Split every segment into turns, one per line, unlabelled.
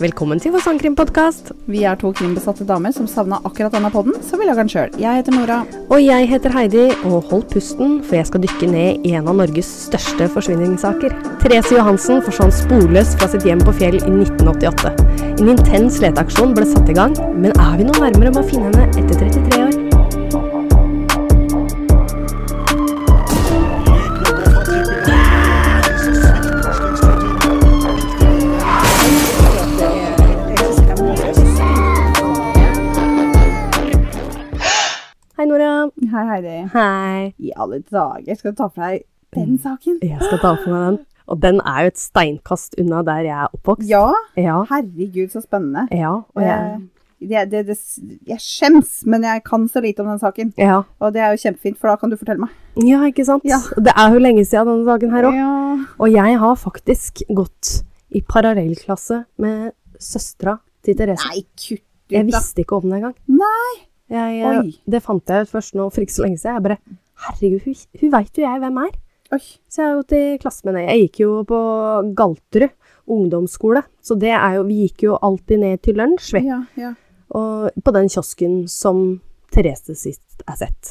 Velkommen til vår sangkrimpodkast.
Vi er to krimbesatte damer som savna akkurat denne podden, så vi lager den sjøl. Jeg heter Nora.
Og jeg heter Heidi, og hold pusten, for jeg skal dykke ned i en av Norges største forsvinningssaker. Therese Johansen forsvant sporløst fra sitt hjem på Fjell i 1988. En intens leteaksjon ble satt i gang, men er vi noe nærmere med å finne henne etter 33 år? Hei, Nora.
Hei, Heidi.
Hei.
I alle dager, skal du ta for deg den saken?
Jeg skal ta for meg den. Og den er jo et steinkast unna der jeg er oppvokst.
Ja.
Ja.
Herregud, så spennende.
Ja. Og jeg,
Eh, Det, det, det, jeg skjems, men jeg kan så lite om den saken.
ja.
Og det er jo kjempefint, for da kan du fortelle meg.
ja, ikke sant?
Eh. Ja.
Det er jo lenge siden denne dagen her òg.
Ja.
Og jeg har faktisk gått i parallellklasse med søstera til Therese.
Nei, kutt ut,
jeg
da.
visste ikke om det engang.
Nei.
Jeg, eh,
Oi.
det fant jeg ut først nå for ikke så lenge siden. Jeg bare Herregud, hun, hun veit jo jeg hvem er.
Oi.
Så jeg har gått i klasse med henne. Jeg gikk jo på Galterud ungdomsskole. Så det er jo Vi gikk jo alltid ned til lunsj, vi.
Ja, ja.
Og på den kiosken som Therese sist er sett.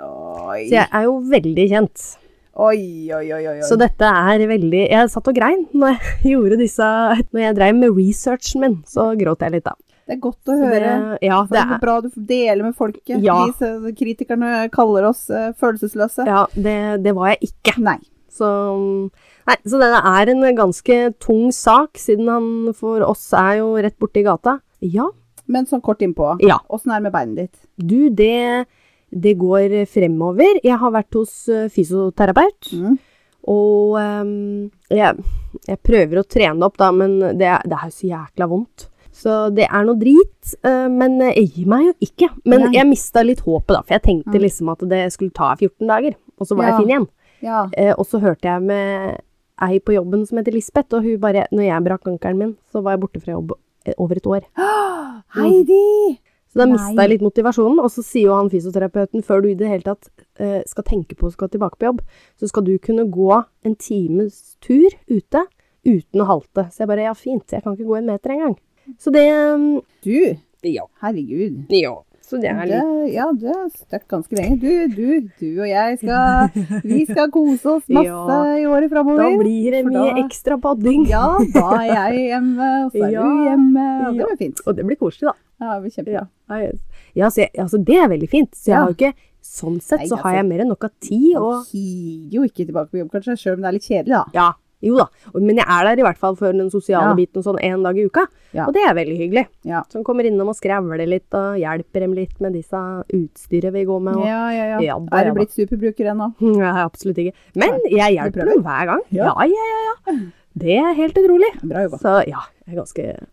Oi.
Så jeg er jo veldig kjent.
Oi, oi, oi, oi. oi.
Så dette er veldig Jeg satt og grein når jeg gjorde disse Når jeg dreiv med researchen min, så gråt jeg litt, da.
det er godt å
Så
høre.
det- ja,
Det
det
er
er
bra du deler med folket.
Ja.
De som kritikerne kaller oss eh, følelsesløse.
ja, det, det var jeg ikke.
Nei.
Så, nei, så denne er en ganske tung sak, siden han for oss er jo rett borti gata. Ja.
Men sånn kort innpå.
ja.
Åssen er det med beinet ditt?
Du, det, det går fremover. Jeg har vært hos eh, fysioterapeut.
Mm.
Og ehm, jeg, jeg prøver å trene det opp, da, men det, er- det er jo så jækla vondt. Så det er noe drit, eh, men jeg gir meg jo ikke. Men
Nei.
jeg mista litt håpet, da, for jeg tenkte
Mm.
liksom at det skulle ta 14 dager, og så var
Ja.
jeg fin igjen.
Ja.
Eh, og så hørte jeg med ei på jobben som heter Lisbeth, og hun bare Når jeg brakk ankelen min, så var jeg borte fra jobb eh, over et år.
Heidi!
Så da
Nei.
mista jeg litt motivasjonen, og så sier jo han fysioterapeuten før du i det hele tatt eh, skal tenke på å skal tilbake på jobb, så skal du kunne gå en times tur ute uten å halte. Så jeg bare ja, fint, jeg kan ikke gå en meter engang. Så det mm,
Du,
Ja.
herregud.
ja. Så det er
Det,
litt
ja, du er støkk ganske lenge. Du, du, du og jeg skal Vi skal kose oss masse
Ja.
i året
Da
framover.
blir det
for
mye
da-
ekstra badding.
Ja, da er jeg hjemme, og så er
Ja.
du hjemme. Og det
Ja.
blir fint.
Og det blir koselig, da.
Ja, det blir kjempebra.
Nei, Ja, så jeg, altså, det er veldig fint. Så jeg
Ja.
har jo ikke Sånn sett
Nei,
så har
altså-
jeg mer enn nok av tid og
Og higer jo ikke tilbake på jobb, kanskje, sjøl om det er litt kjedelig, da.
Ja, jo da. Og- Men jeg er der i hvert fall for den sosiale
Ja.
biten og sånn en dag i uka.
Ja.
Og det er veldig hyggelig.
Ja.
Som kommer innom og skrevler litt og hjelper dem litt med disse utstyret vi går med. Og...
Ja, ja, ja.
Ja, da,
Er
ja,
du
da.
blitt superbruker ennå?
Nei, absolutt ikke. Men jeg hjelper
prøver.
dem hver gang. Ja, ja,
Ja.
ja. ja. Det er helt utrolig.
Bra jobba.
Så ja, jeg er ganske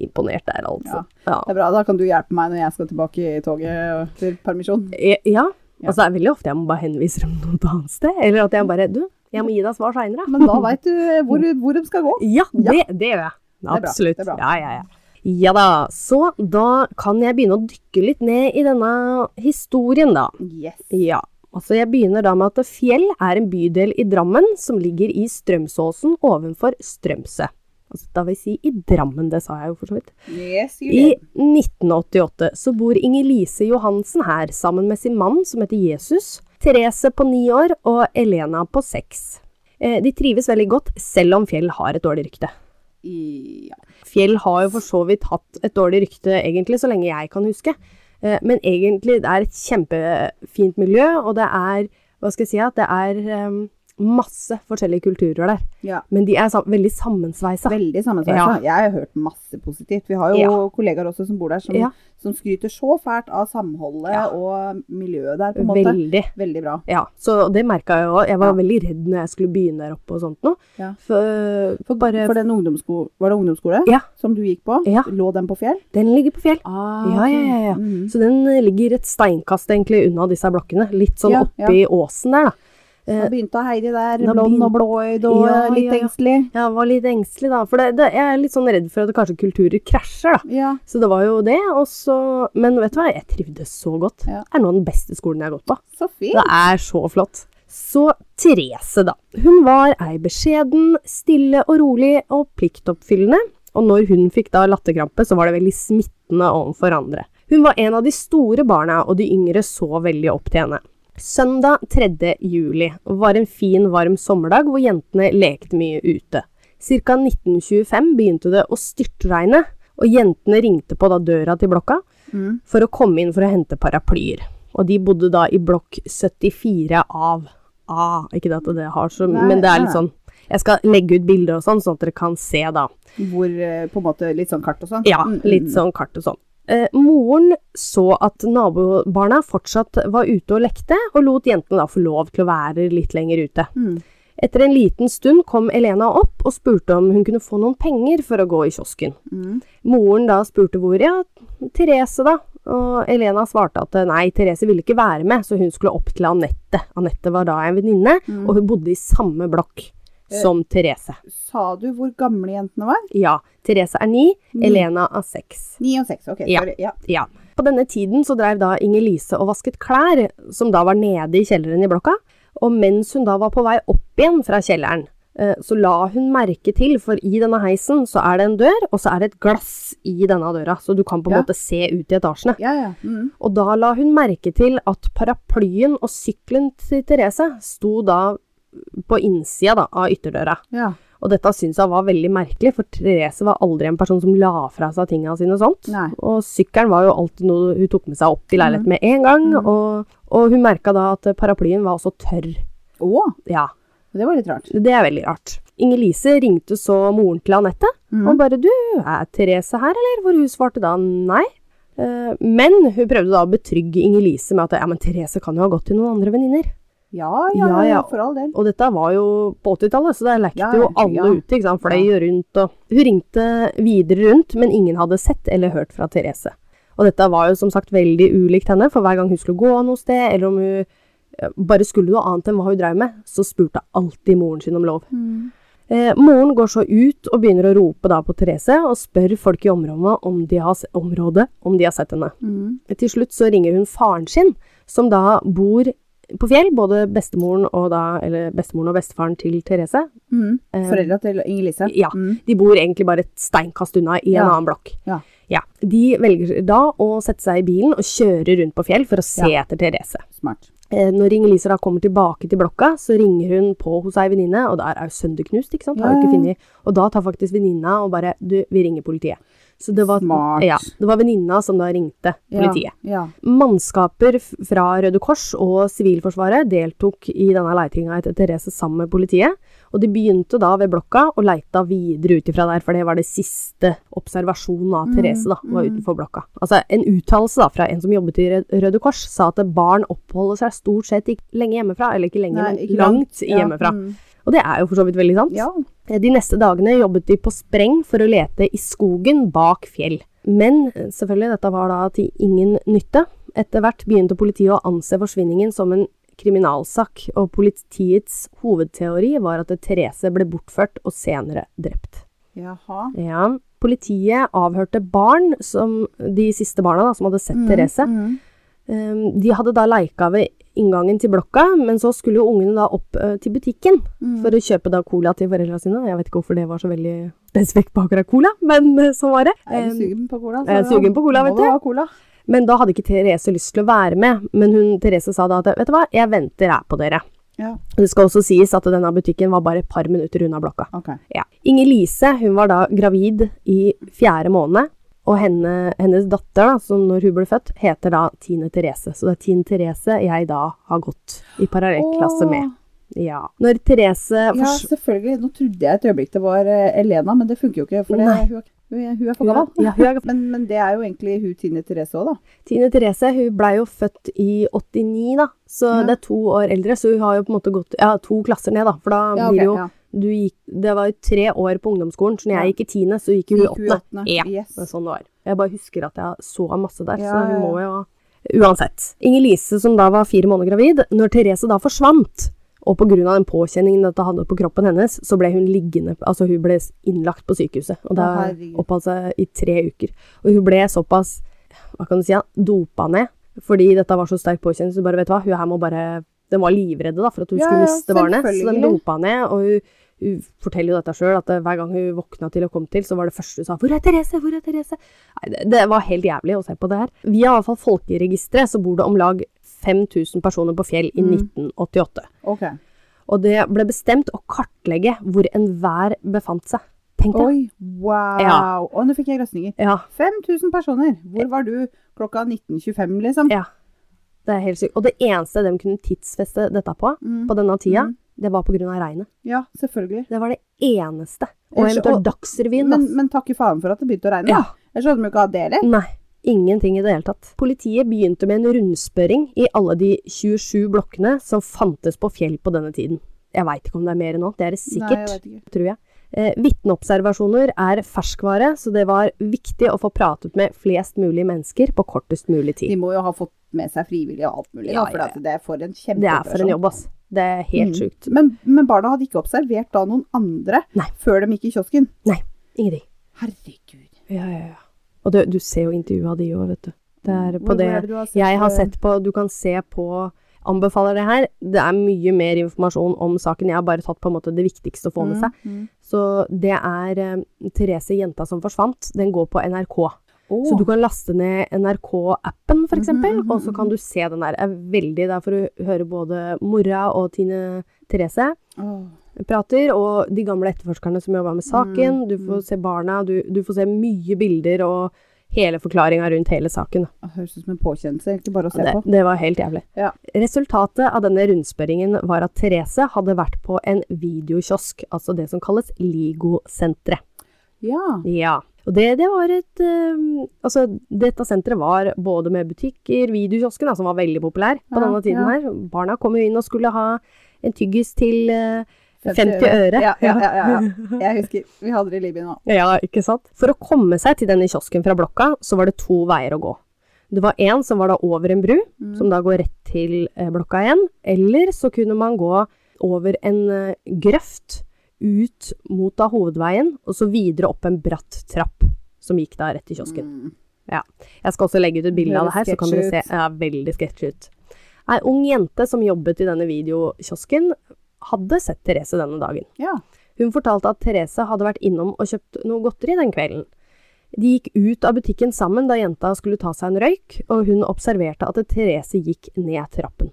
imponert der, altså. Ja.
Det er bra, da kan du hjelpe meg når jeg skal tilbake i toget til permisjon.
Ja. ja.
Ja.
Altså, det er veldig ofte jeg må bare henvise dem noe annet sted. Eller at jeg bare Du, jeg må gi deg svar seinere.
Men da veit du eh, hvor, hvor de skal gå.
Ja, det, det gjør jeg.
bra,
Absolutt.
det er bra.
Ja, ja, ja. Ja da, så da kan jeg begynne å dykke litt ned i denne historien, da.
Yes.
Ja. Altså, jeg begynner da med at Fjell er en bydel i Drammen som ligger i Strømsåsen ovenfor Strømsø. Altså, da vil jeg si i Drammen, det sa jeg jo for så vidt.
Yes, you
I
did.
1988 så bor Inger-Lise Johansen her sammen med sin mann som heter Jesus, Therese på ni år og Elena på seks. Eh, De trives veldig godt, selv om Fjell har et dårlig rykte.
I- ja.
Fjell har jo for så vidt hatt et dårlig rykte, egentlig, så lenge jeg kan huske. Eh, Men egentlig, det er et kjempefint miljø, og det er, hva skal jeg si, at det er em, masse forskjellige kulturer der.
ja.
Men de er sam veldig sammensveisa.
Veldig sammensveisa. Jeg har hørt masse positivt. Vi har jo
Ja.
kollegaer også som bor der, som,
Ja.
som skryter så fælt av samholdet
Ja.
og miljøet der, på en måte.
Veldig.
Veldig bra.
Ja, så det merka jeg òg. Jeg var
Ja.
veldig redd når jeg skulle begynne der oppe og sånt noe.
Ja.
For, for bare
For den ungdomssko var det ungdomsskole
Ja.
som du gikk på?
Ja.
Lå den på fjell?
Den ligger på fjell. Ja, ja, ja, ja.
Ah, Mhm.
Så den eh, ligger et steinkast egentlig unna disse blokkene. Litt sånn
Ja,
oppi åsen der, da.
Da begynte Heidi der,
Eh, Da
blond og
begynte-
blåøyd og
Ja,
eh, litt
ja, ja.
engstelig.
Jeg var litt engstelig da, for det, det, jeg er litt sånn redd for at kanskje kulturer krasjer, da.
Ja.
Så det var jo det, og så Men vet du hva, jeg trivdes så godt.
Ja.
Det er noe av den beste skolen jeg har gått på.
Så fint.
Det er så flott. Så Therese, da. Hun var ei beskjeden, stille og rolig og pliktoppfyllende. og når hun fikk da latterkrampe, så var det veldig smittende overfor andre. Hun var en av de store barna, og de yngre så veldig opp til henne. Søndag 3. juli var en fin, varm sommerdag hvor jentene lekte mye ute. Cirka 1925 begynte det å styrtregne, og jentene ringte på da døra til blokka
Mm.
for å komme inn for å hente paraplyer. Og de bodde da i blokk 74 av A. Ikke at det har så
Nei,
Men det er litt
nei.
sånn Jeg skal legge ut bilder og sånn, sånn at dere kan se, da.
Hvor eh, på en måte litt sånn kart og sånn?
Ja,
Mm, mm,
litt
mm.
sånn kart og sånn. Eh, moren så at nabobarna fortsatt var ute og lekte, og lot jentene da få lov til å være litt lenger ute.
Mm.
Etter en liten stund kom Elena opp og spurte om hun kunne få noen penger for å gå i kiosken.
Mm.
Moren da spurte hvor, ja, Therese da, og Elena svarte at nei, Therese ville ikke være med, så hun skulle opp til Anette. Anette var da en venninne,
Mm.
og hun bodde i samme blokk som Therese.
Sa du hvor gamle jentene var?
Ja, Therese er ni,
Mm.
Elena er seks.
Ni og seks. Ok,
Ja.
sorry. Ja.
Ja. På denne tiden så drev da Inger-Lise og vasket klær, som da var nede i kjelleren i blokka. Og mens hun da var på vei opp igjen fra kjelleren, eh, så la hun merke til, for i denne heisen så er det en dør, og så er det et glass i denne døra, så du kan på en
Ja.
måte se ut i etasjene.
ja, ja. Mm.
Og da la hun merke til at paraplyen og sykkelen til Therese sto da på innsida da, av ytterdøra.
ja.
Og dette syntes jeg var veldig merkelig, for Therese var aldri en person som la fra seg tingene sine og sånt.
Nei.
Og sykkelen var jo alltid noe hun tok med seg opp til leiligheten med en gang,
Mhm.
og, og hun merka da at paraplyen var også tørr.
Å,
Ja,
det var litt rart.
det er veldig rart. Inger-Lise ringte så moren til Anette
Mm.
og bare 'du, er Therese her, eller?' Hvor hun svarte da nei. Eh, Men hun prøvde da å betrygge Inger-Lise med at ja, men Therese kan jo ha gått til noen andre venninner.
Ja,
Ja,
ja, ja,
ja.
for all del.
Og dette var jo på 80-tallet, så der lekte
Ja,
jo alle
ja.
ute. ikke sant? Fløy rundt og Hun ringte videre rundt, men ingen hadde sett eller hørt fra Therese. Og dette var jo som sagt veldig ulikt henne, for hver gang hun skulle gå noe sted, eller om hun eh, bare skulle noe annet enn hva hun drev med, så spurte alltid moren sin om lov.
Mm.
Eh, moren går så ut og begynner å rope da på Therese, og spør folk i området om de har, se- området, om de har sett henne.
Mm.
Til slutt så ringer hun faren sin, som da bor på Fjell, både bestemoren og, da, eller bestemoren og bestefaren til Therese.
Mm.
Eh,
Foreldra til Inger-Lise?
Ja.
Mm.
De bor egentlig bare et steinkast unna i en
Ja.
annen blokk.
Ja.
De velger da å sette seg i bilen og kjøre rundt på Fjell for å se etter Therese.
Smart.
Eh, Når Inger-Lise da kommer tilbake til blokka, så ringer hun på hos ei venninne, og der er jo sønderknust, ikke sant? Har jo
Ja,
ikke
ja,
funnet. Og da tar faktisk venninna og bare Du, vi ringer politiet. Så det var,
Smart.
Ja, det var venninna som da ringte politiet.
Ja.
Mannskaper f- fra Røde Kors og Sivilforsvaret deltok i denne leitinga etter Therese sammen med politiet, og de begynte da ved blokka og leita videre ut ifra der, for det var det siste observasjonen av
Mm,
Therese, da, var
mm.
utenfor blokka. Altså, en uttalelse da, fra en som jobbet i Rød- Røde Kors, sa at barn oppholder seg stort sett ikke lenge hjemmefra, eller ikke lenge,
Nei,
men
ikke
langt
Ja.
hjemmefra.
Mm.
Og det er jo for så vidt veldig sant.
Ja.
Eh, De neste dagene jobbet de på spreng for å lete i skogen bak fjell. Men eh, selvfølgelig, dette var da til ingen nytte. Etter hvert begynte politiet å anse forsvinningen som en kriminalsak, og politiets hovedteori var at Therese ble bortført og senere drept.
Jaha.
Ja, Politiet avhørte barn, som, de siste barna da, som hadde sett
Mm,
Therese.
Mm.
Eh, De hadde da leika ved inngangen til blokka, men så skulle jo ungene da opp eh, til butikken
Mm.
for å kjøpe da cola til foreldra sine. Jeg vet ikke hvorfor det var så veldig spesifikt på akkurat cola, men eh, sånn var det.
Er du
Eh,
sugen på cola?
jeg er sugen på cola, vet
Må du ha cola.
Men da hadde ikke Therese lyst til å være med, men hun, Therese sa da at vet du hva, jeg venter her på dere.
Ja.
Det skal også sies at denne butikken var bare et par minutter unna blokka.
Ok.
Ja. Inger-Lise hun var da gravid i fjerde måned, og henne, hennes datter, da, som når hun ble født, heter da Tine Therese. Så det er Tine Therese jeg da har gått i parallellklasse med.
Åh,
Ja. Når Therese
Ja,
fors-
selvfølgelig. Nå trodde jeg et øyeblikk det var eh, Elena, men det funker jo ikke, for det,
Nei.
hun, er, hun er- hun er for gammel.
Ja, hun er
Men, men det er jo egentlig hun Tine Therese òg, da.
Tine Therese hun ble jo født i 89, da, så
Ja.
det er to år eldre. Så hun har jo på en måte gått ja, to klasser ned, da. For da
Ja,
blir det
ok,
jo
ja.
du gikk, Det var jo tre år på ungdomsskolen, så når
Ja.
jeg gikk i tiende, så gikk hun i
Gikk hun i
åttende.
åttende.
Ja.
Yes.
Det var sånn det var. Jeg bare husker at jeg så masse der,
Ja,
så hun
ja,
må jo ha Uansett. Inger-Lise, som da var fire måneder gravid, når Therese da forsvant, og pga. den påkjenningen dette hadde på kroppen hennes, så ble hun liggende Altså, hun ble innlagt på sykehuset, og da
Å, herregud.
oppholdt seg i tre uker. Og hun ble såpass, hva kan du si, ja, dopa ned fordi dette var så sterk påkjenning, så hun bare, vet du hva, hun her må bare Den var livredde da, for at hun
Ja,
skulle
ja,
miste barnet, så den
selvfølgelig.
dopa ned, og hun Hun forteller jo dette sjøl, at eh, hver gang hun våkna til og kom til, så var det første hun sa 'Hvor er Therese? Hvor er Therese?' Nei, det, det var helt jævlig å se på det her. Via i hvert fall folkeregisteret så bor det om lag 5000 personer på Fjell
Mm.
i 1988.
Ok.
Og det ble bestemt å kartlegge hvor enhver befant seg. Tenk deg.
Oi, wow.
Ja.
Og nå fikk jeg grøsninger.
Ja,
5000 personer. Hvor var du klokka 19.25, liksom?
ja. Det er helt sykt. Og det eneste de kunne tidsfeste dette på,
Mm.
på denne tida,
Mm.
det var pga. regnet.
Ja, selvfølgelig.
Det var det eneste. Og
Ellers-
eventuelt
og-
Dagsrevyen.
Men,
da.
men takk i faen for at det begynte å regne.
Ja.
da. Jeg skjønner jo ikke at det heller.
Nei. Ingenting i det hele tatt. Politiet begynte med en rundspørring i alle de 27 blokkene som fantes på fjell på denne tiden. Jeg veit ikke om det er mer nå, det er det
Nei,
sikkert.
jeg vet ikke.
tror jeg. Eh, Vitneobservasjoner er ferskvare, så det var viktig å få pratet med flest mulig mennesker på kortest mulig tid.
De må jo ha fått med seg frivillige og alt mulig.
Ja,
da, for
ja,
at Det er for en
Det er for en
kjempeoperasjon.
jobb, ass. Det er helt
Mm.
sjukt.
Men, men barna hadde ikke observert da noen andre
Nei.
før de gikk i kiosken.
Ingenting.
Herregud.
Ja, ja, ja. Og du, du ser jo intervjua de òg, vet du. Det er på
Mm. Hvor- hvor
det
er du sett,
jeg har
eh,
sett på Du kan se på Anbefaler det her. Det er mye mer informasjon om saken. Jeg har bare tatt på en måte det viktigste å få med
mm,
seg.
mm.
Så det er eh, Therese Jenta som forsvant. Den går på NRK. Så
Åh,
du kan laste ned NRK-appen, for eksempel,
Mhm, mhm,
og så kan du se den der. Det er veldig der for å høre både Mora og Tine Therese
åh.
prater, og de gamle etterforskerne som jobber med saken.
Mm,
Du får se barna, du, du får se mye bilder og hele forklaringa rundt hele saken. da.
Det høres ut som en påkjennelse. Egentlig bare å se
Det,
på.
det var helt jævlig.
Ja.
Resultatet av denne rundspørringen var at Therese hadde vært på en videokiosk, altså det som kalles LIGO-senteret.
Ja.
Ja. Og det, det var et eh, Altså, dette senteret var både med butikker, videokiosken, da, som var veldig populær på
Ja,
denne tiden
ja.
her. Barna kom jo inn og skulle ha en tyggis til eh, 50
50
øre.
Ja, ja, ja, ja, ja. Jeg husker. Vi hadde det i Libya nå.
Ja, ikke sant? For å komme seg til denne kiosken fra blokka, så var det to veier å gå. Det var en som var da over en bru,
Mm.
som da går rett til eh, blokka igjen. Eller så kunne man gå over en eh, grøft ut mot da hovedveien, og så videre opp en bratt trapp som gikk da rett til kiosken.
Mm.
Jeg skal også legge ut et bilde av det her, så kan dere se.
Veldig sketchy ut.
Ja, veldig sketsj ut. Ei ung jente som jobbet i denne videokiosken, hadde sett Therese denne dagen.
Ja.
Hun fortalte at Therese hadde vært innom og kjøpt noe godteri den kvelden. De gikk ut av butikken sammen da jenta skulle ta seg en røyk, og hun observerte at Therese gikk ned trappen,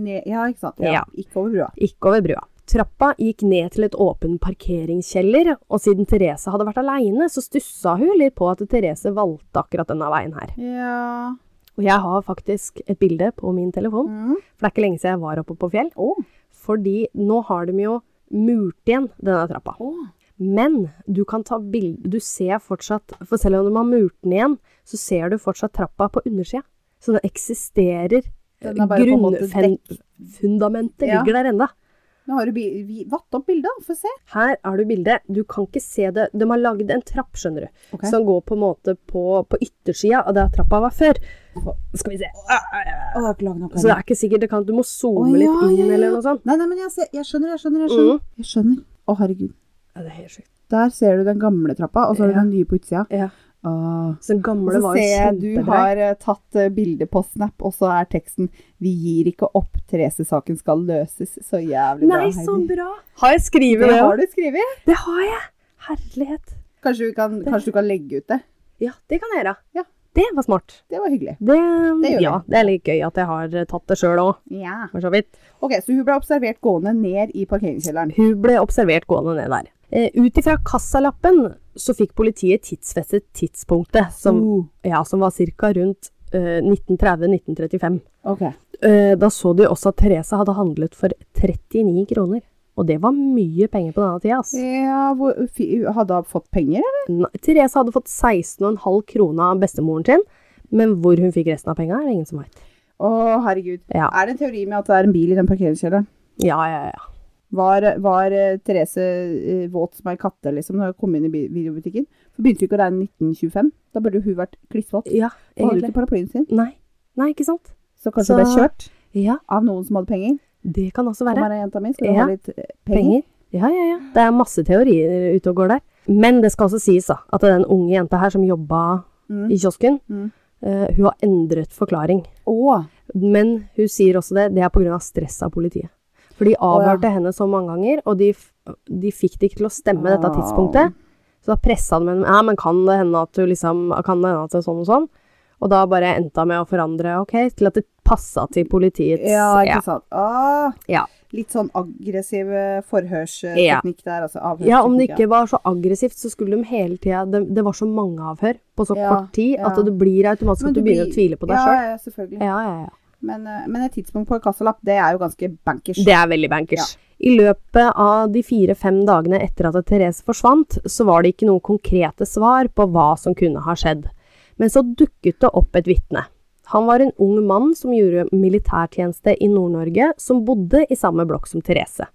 Ne ja, ikke sant. Ja.
Ja.
Ikke over brua.
ikke over brua. Trappa gikk ned til et åpen parkeringskjeller, og siden Therese hadde vært aleine, så stussa hun litt på at Therese valgte akkurat denne veien her.
Ja.
Og jeg har faktisk et bilde på min telefon,
Mm.
for det er ikke lenge siden jeg var oppe på fjell.
Åh.
Fordi nå har de jo murt igjen denne trappa.
Åh.
Men du kan ta bilde Du ser fortsatt For selv om de har murt den igjen, så ser du fortsatt trappa på undersida. Så den eksisterer.
Den er bare på en måte
Grunnfundamentet
Ja.
ligger der enda.
Nå har du bi- vi vatt opp bildet, da. få se.
Her har du bildet. Du kan ikke se det. De har lagd en trapp, skjønner du,
Ok.
som går på en måte på, på yttersida av der trappa var før. Skal vi se.
Åh, jeg har ikke laget noe
Så det er ikke sikkert. Det kan, du må zoome
Å, ja,
litt inn
ja, ja.
eller noe sånt.
Nei, nei, men jeg, ser, jeg skjønner, jeg skjønner. Jeg skjønner. Jeg skjønner. Å, herregud.
Ja, det er helt sjukt.
Der ser du den gamle trappa, og så har du
Ja.
den nye på utsida.
Ja.
Åh.
Så den
Og
gamle
så
var
ser
jo
jeg du
kjempedrei.
har eh, tatt eh, bilde på Snap, og så er teksten 'Vi gir ikke opp, Therese-saken skal løses'. Så jævlig bra,
Nei,
Heidi.
så bra! Har jeg skrevet
Det
det òg?
har du skrevet.
Det har jeg! Herlighet.
Kanskje, vi kan, kanskje du kan legge ut det.
Ja, det kan jeg gjøre.
Ja.
Det var smart.
Det var hyggelig.
Det,
Det gjør
ja, det er litt gøy at jeg har eh, tatt det sjøl òg,
Ja.
for så vidt.
Ok, Så hun ble observert gående ned i parkeringskjelleren.
Hun ble observert gående ned der. Eh, Ut ifra kassalappen så fikk politiet tidsfestet tidspunktet, som,
Oh,
ja, som var ca. rundt eh, 1930-1935.
ok.
Eh, Da så de også at Therese hadde handlet for 39 kroner. Og det var mye penger på denne tida. Altså.
Ja, hvor, fi- hadde hun fått penger, eller?
Nei, Therese hadde fått 16,5 kroner av bestemoren sin, men hvor hun fikk resten av penga, er det ingen som veit.
Å, herregud.
Ja.
Er det en teori med at det er en bil i den parkeringskjelleren?
ja, ja, ja.
Var, var eh, Therese eh, våt som ei katte liksom, når hun kom inn i bi- videobutikken? For begynte jo ikke å regne 1925. Da burde jo hun vært klissvåt.
Ja,
Og hadde
egentlig.
ikke paraplyen sin.
Nei. Nei, ikke sant?
Så kanskje
Så-
hun ble kjørt
Ja,
av noen som hadde penger.
det kan også
Kom
være.
her, jenta mi, skal du
Ja.
ha litt eh, penger?
Penger. Ja, ja, ja. Det er masse teorier ute og går der. Men det skal også sies da, at den unge jenta her som jobba
Mm.
i kiosken,
Mm.
eh, hun har endret forklaring.
Å,
Men hun sier også det, det er pga. stress av politiet. For de avhørte henne så mange ganger, og de, f- de fikk det ikke til å stemme dette
Ah.
tidspunktet. Så da pressa de henne. Ja, men kan det hende at du liksom Kan det hende at det er sånn og sånn? Og da bare endte hun med å forandre ok, til at det passa til politiets
Ja, ikke
ja.
sant. Ah,
Ja.
Litt sånn aggressiv eh, forhørsteknikk der, altså.
ja, om det
avhørsteknikk,
ikke var så aggressivt, så skulle de hele tida det, det var så mange avhør på så
Ja,
kort tid at
ja.
det blir automatisk sånn
Men
at du
du
begynner
blir-
å tvile på deg
ja,
sjøl.
Ja, selvfølgelig.
Ja, ja, ja.
Men, eh, men et tidspunkt på en kassalapp, det er jo ganske bankers.
Det er veldig bankers. I løpet av de fire-fem dagene etter at Therese forsvant, så var det ikke noen konkrete svar på hva som kunne ha skjedd. Men så dukket det opp et vitne. Han var en ung mann som gjorde militærtjeneste i Nord-Norge, som bodde i samme blokk som Therese.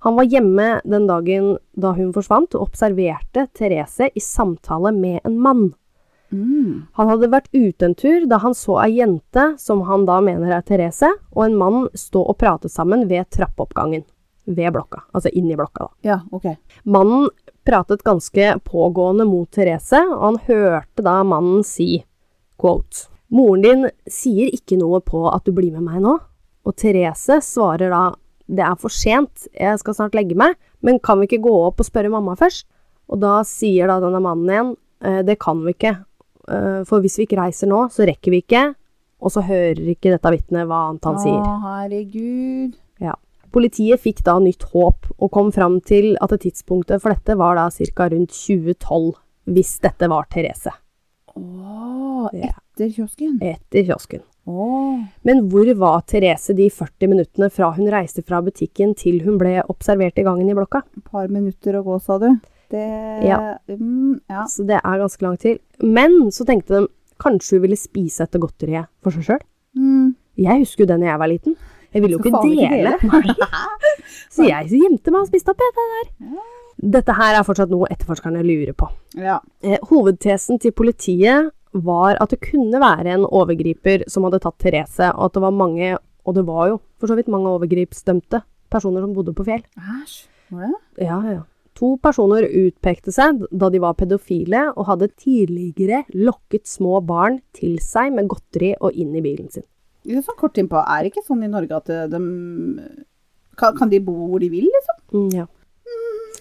Han var hjemme den dagen da hun forsvant, og observerte Therese i samtale med en mann.
Mm.
Han hadde vært ute en tur da han så ei jente, som han da mener er Therese, og en mann stå og prate sammen ved trappeoppgangen. Ved blokka. Altså inn i blokka, da.
Ja, ok.
Mannen pratet ganske pågående mot Therese, og han hørte da mannen si, quote, Moren din sier ikke noe på at du blir med meg nå. Og Therese svarer da, det er for sent, jeg skal snart legge meg, men kan vi ikke gå opp og spørre mamma først? Og da sier da denne mannen igjen, «Eh, det kan vi ikke, Eh, for hvis vi ikke reiser nå, så rekker vi ikke, og så hører ikke dette vittnet hva annet han sier.
Å, herregud.
Ja. Politiet fikk da nytt håp, og kom fram til at det tidspunktet for dette var da ca. rundt 2012, hvis dette var Therese,
Å,
Ja.
etter kiosken.
etter kiosken.
Å.
Men hvor var Therese de 40 minuttene fra hun reiste fra butikken til hun ble observert i gangen i blokka?
Et par minutter å gå, sa du. Det
Ja.
Mm, ja.
Så det er ganske langt til. Men så tenkte de, kanskje hun ville spise dette godteriet for seg sjøl?
Mm.
Jeg husker jo det når jeg var liten. Jeg ville jo
Skal
ikke
faen ikke
dele. så jeg gjemte meg og spiste opp jeg, det der. Dette her er fortsatt noe etterforskerne lurer på.
ja.
Eh, Hovedtesen til politiet var at det kunne være en overgriper som hadde tatt Therese, og at det var mange, og det var jo for så vidt mange overgripsdømte personer som bodde på fjell.
Æsj. Var det?
Ja, ja. To personer utpekte seg da de var pedofile og hadde tidligere lokket små barn til seg med godteri og inn i bilen sin.
Litt sånn kort innpå, er det ikke sånn i Norge at eh, de kan, kan de bo hvor de vil, liksom?
Mm, ja.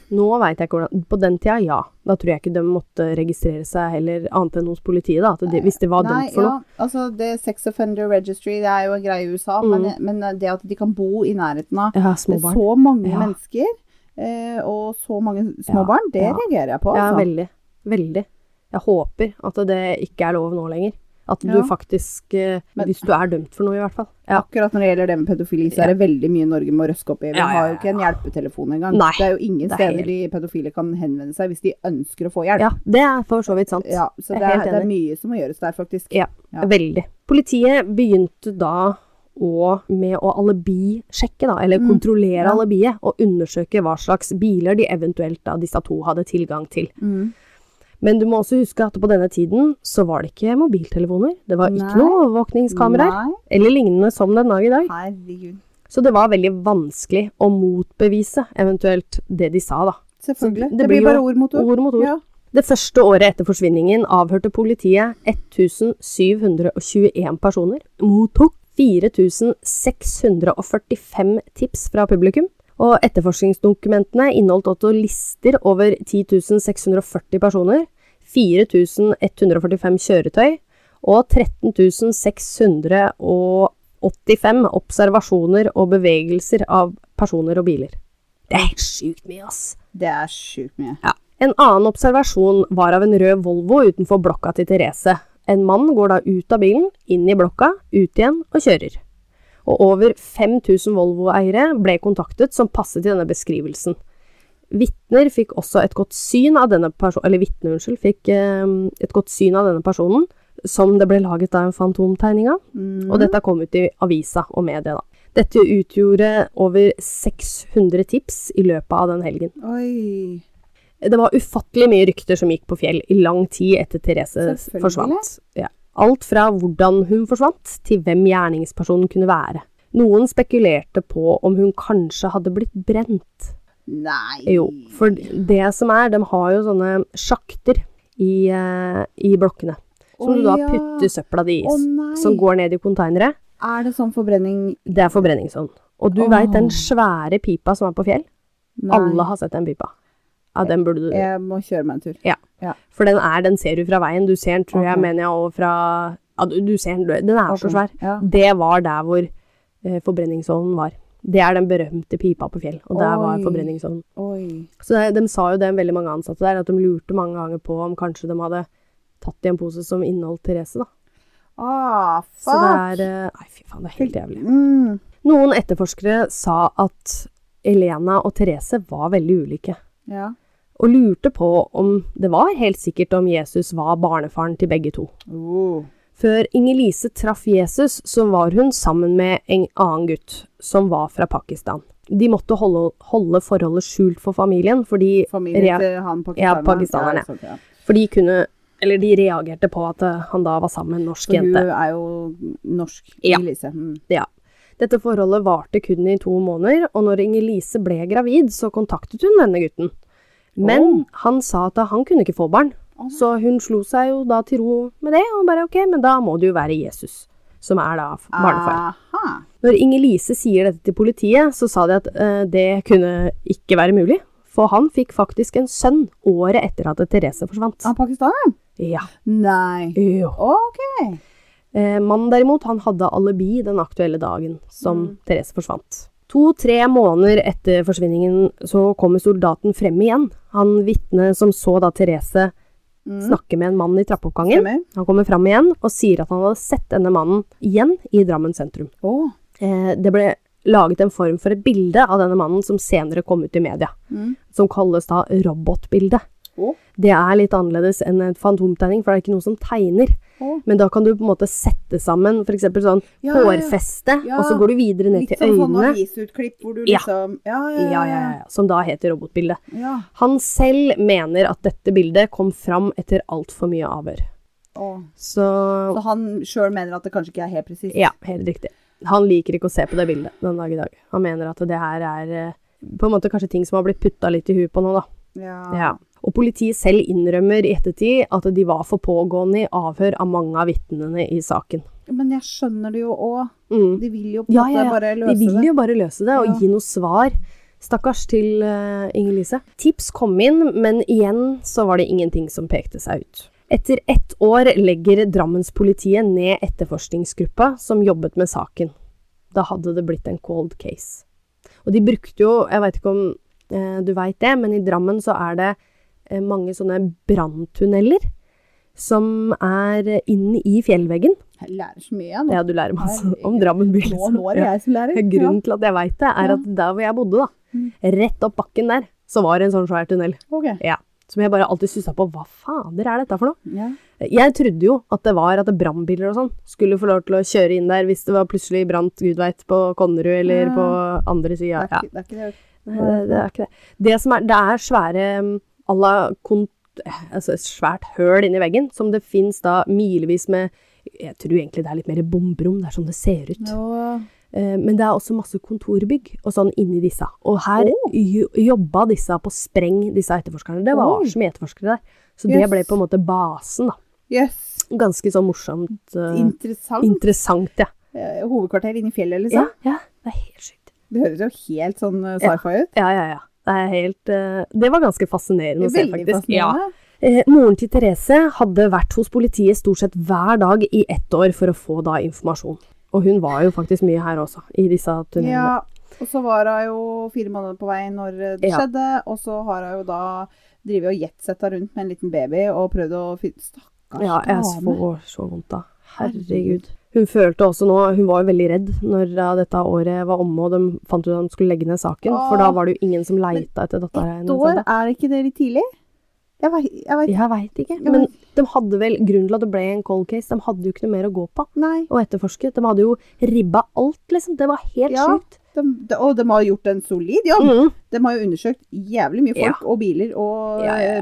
Nå veit jeg ikke hvordan På den tida, ja. Da tror jeg ikke de måtte registrere seg heller, annet enn hos politiet, da. At de, hvis de var dømt for
ja,
noe.
altså det Sex Offender Registry det er jo en greie i USA, men, men det at de kan bo i nærheten av
Ja, Mm. små barn.
så mange
Ja.
mennesker eh, og så mange
Ja,
små barn, det
ja.
reagerer jeg på.
Ja,
Altså.
veldig. Veldig. Jeg håper at det ikke er lov nå lenger. At du
Ja.
faktisk eh,
Men-
Hvis du er dømt for noe, i hvert fall. Ja.
Akkurat når det gjelder det med pedofili, så er det veldig mye Norge må røske opp i. Vi
Ja, ja,
har jo
ja.
ikke en hjelpetelefon engang.
Nei,
Det er jo ingen
det er
steder
helt-
de pedofile kan henvende seg hvis de ønsker å få hjelp.
ja, det er for så vidt sant.
Ja, så
Jeg er
det er,
helt
det er
enig.
mye som må gjøres der, faktisk.
Ja,
Ja.
Veldig. Politiet begynte da å, med å alibisjekke, da, eller
Mm,
kontrollere
ja.
alibiet, og undersøke hva slags biler de eventuelt da disse to hadde tilgang til.
Mm.
Men du må også huske at på denne tiden så var det ikke mobiltelefoner, det var
Nei.
ikke noe overvåkningskameraer,
Nei,
eller lignende som den dag i dag.
herregud.
Så det var veldig vanskelig å motbevise eventuelt det de sa, da. Så
Selvfølgelig. Det,
det blir
blir bare
jo
ord mot ord.
Ord mot ord.
Ja.
Det første året etter forsvinningen avhørte politiet 1721 personer, mottok 4645 tips fra publikum, og etterforskningsdokumentene inneholdt også lister over 10.640 personer, 4145 kjøretøy og 13.685 observasjoner og bevegelser av personer og biler. Det er helt sjukt mye, ass!
Det er sjukt mye.
En annen observasjon var av en rød Volvo utenfor blokka til Therese. En mann går da ut av bilen, inn i blokka, ut igjen og kjører. Og over 5000 Volvo-eiere ble kontaktet som passet til denne beskrivelsen. Vitner fikk også et godt syn av denne personen, eller vitner, unnskyld, fikk eh, et godt syn av denne personen, som det ble laget da en fantomtegning av.
Mm.
Og dette kom ut i avisa og media, da. Dette utgjorde over 600 tips i løpet av den helgen.
Mm. Oi.
Det var ufattelig mye rykter som gikk på fjell i lang tid etter Therese
Selvfølgelig.
forsvant. Ja. Alt fra hvordan hun forsvant, til hvem gjerningspersonen kunne være. Noen spekulerte på om hun kanskje hadde blitt brent.
Nei.
Jo, for det som er, de har jo sånne sjakter i, eh, i blokkene. Som
Å
du da
ja.
putter søpla di i,
Å nei.
som går ned i konteinere.
Er det sånn forbrenning
Det er forbrenningsovn. Og du
Åh.
veit den svære pipa som er på fjell? Alle har sett den pipa. Ja, den burde du
Jeg må kjøre meg en tur.
For den er, den ser du fra veien. Du ser den, tror jeg,
Ok.
mener jeg, og fra Ja, du, du ser den. Den er så
Ok.
svær.
Ja.
Det var der hvor eh, forbrenningsovnen var. Det er den berømte pipa på fjell, og der var
Oi.
forbrenningsovnen.
Oi.
Så det, de sa jo det, veldig mange ansatte der, at de lurte mange ganger på om kanskje de hadde tatt i en pose som inneholdt Therese, da.
Ah,
Så
fuck!
det er eh, Nei, fy faen, det er helt jævlig.
Mm.
Noen etterforskere sa at Elena og Therese var veldig ulike.
Ja.
og lurte på om det var helt sikkert om Jesus var barnefaren til begge to.
Oh.
Før Inger-Lise traff Jesus, så var hun sammen med en annen gutt, som var fra Pakistan. De måtte holde, holde forholdet skjult for familien, fordi,
Familien
rea-
til han pakistaneren?
pakistaneren, ja.
ikke sant, ja.
for de, kunne, eller de reagerte på at eh, han da var sammen med en norsk
For hun
jente.
er jo norsk,
Ja.
Elise. Mm.
Ja. Dette forholdet varte kun i to måneder, og når Inger-Lise ble gravid, så kontaktet hun denne gutten. Men han sa at han kunne ikke få barn,
Å.
så hun slo seg jo da til ro med det, og bare ok, men da må det jo være Jesus, som er da
Ah.
f- barnefar.
Aha.
Når Inger-Lise sier dette til politiet, så sa de at eh, det kunne ikke være mulig, for han fikk faktisk en sønn året etter at Therese forsvant.
Han Ah, pakistaneren?
Ja.
Nei.
Jo.
OK.
Eh, Mannen derimot, han hadde alibi den aktuelle dagen som Therese forsvant. To-tre måneder etter forsvinningen så kommer soldaten frem igjen. Han vitne som så da Therese snakke med en mann i trappeoppgangen.
Stemmer.
Han kommer frem igjen og sier at han hadde sett denne mannen igjen i Drammen sentrum.
Å.
Eh, det ble laget en form for et bilde av denne mannen som senere kom ut i media,
Mm.
som kalles da robotbildet.
Å.
Det er litt annerledes enn en fantomtegning, for det er ikke noe som tegner.
Å.
Men da kan du på en måte sette sammen f.eks. sånn
Ja, ja, ja.
hårfeste,
Ja.
og så går du videre ned til
Litt som sånn
øynene.
avisutklipp hvor du
Ja.
liksom
Ja,
Ja,
ja, ja, ja, som da heter robotbildet.
ja.
Han selv mener at dette bildet kom fram etter altfor mye avhør.
Å.
Så
Så han sjøl mener at det kanskje ikke er helt presist?
ja, helt riktig. Han liker ikke å se på det bildet den dag i dag. Han mener at det her er eh, på en måte kanskje ting som har blitt putta litt i huet på nå, da.
Ja.
Ja. Og politiet selv innrømmer i ettertid at de var for pågående i avhør av mange av vitnene i saken.
Men jeg skjønner det jo òg.
Mm.
De vil jo på en
Ja,
måte
ja, ja.
bare
De
løse
vil
det.
jo bare løse det og
Ja.
gi noe svar. Stakkars til eh, Inger-Lise. Tips kom inn, men igjen så var det ingenting som pekte seg ut. Etter ett år legger Drammenspolitiet ned etterforskningsgruppa som jobbet med saken. Da hadde det blitt en cold case. Og de brukte jo, jeg veit ikke om eh, du veit det, men i Drammen så er det eh, mange sånne branntunneler som er inne i fjellveggen.
Jeg lærer så mye, jeg nå.
Ja, du lærer masse
Herregud.
om Drammen by.
Nå,
liksom.
nå er det
Ja. Mm.
jeg som lærer.
Grunnen til at jeg veit det, er
Ja.
at der hvor jeg bodde, da, rett opp bakken der, så var det en sånn svær tunnel.
Ja. ok.
Ja. Som jeg bare alltid stussa på. Hva fader er dette for noe?
Ja.
Jeg trodde jo at det var at brannbiler og sånn skulle få lov til å kjøre inn der hvis det var plutselig brant gud veit på Konnerud eller
Ja.
på andre
Det,
sida.
er
Ja.
ikke, det er ikke det.
Nei, det, det er ikke det. Det, som er, det er svære mm, à la kont... eh, Altså et svært høl inni veggen, som det fins da milevis med Jeg tror egentlig det er litt mer bomberom, det er sånn det ser ut.
Nå-
Eh, Men det er også masse kontorbygg og sånn inni disse. Og her
Åh.
jo- jobba disse på spreng, disse etterforskerne. Det var
Oi.
så mye etterforskere der. Så det
Yes.
ble på en måte basen, da.
Yes.
Ganske sånn morsomt. eh,
Interessant.
interessant, ja.
Eh, Hovedkvarter inne i fjellet, liksom.
ja. Ja, det er helt sykt.
Det høres jo helt sånn eh, sci-fi ut.
Ja, ja, ja. Det er helt eh, Det var ganske fascinerende å se,
Veldig
faktisk. Ja.
fascinerende.
Eh, moren til Therese hadde vært hos politiet stort sett hver dag i ett år for å få da informasjon. Og hun var jo faktisk mye her også, i disse tunnelene.
Ja, og så var hun jo fire måneder på vei når eh, det
Ja.
skjedde, og så har hun jo da drevet og jetsetta rundt med en liten baby og prøvd å finne Stakkars
Ja, jeg
dame.
får så vondt da. Herregud.
Herregud.
Hun følte også nå, hun var jo veldig redd når eh, dette året var omme og de fant ut at de skulle legge ned saken, for da
Åh.
var det jo ingen som leita etter dattera
Ett
hennes.
år,
enda.
er ikke det litt tidlig? Jeg veit jeg vet-
Jeg veit ikke, men
Ja, men-
de hadde vel grunnen til at det ble en cold case, de hadde jo ikke noe mer å gå på
Nei.
og etterforske. De hadde jo ribba alt, liksom. Det var helt
Ja.
sjukt.
De, de, og de har gjort en solid jobb.
Mm.
De har jo undersøkt jævlig mye folk og biler og
Ja, ja,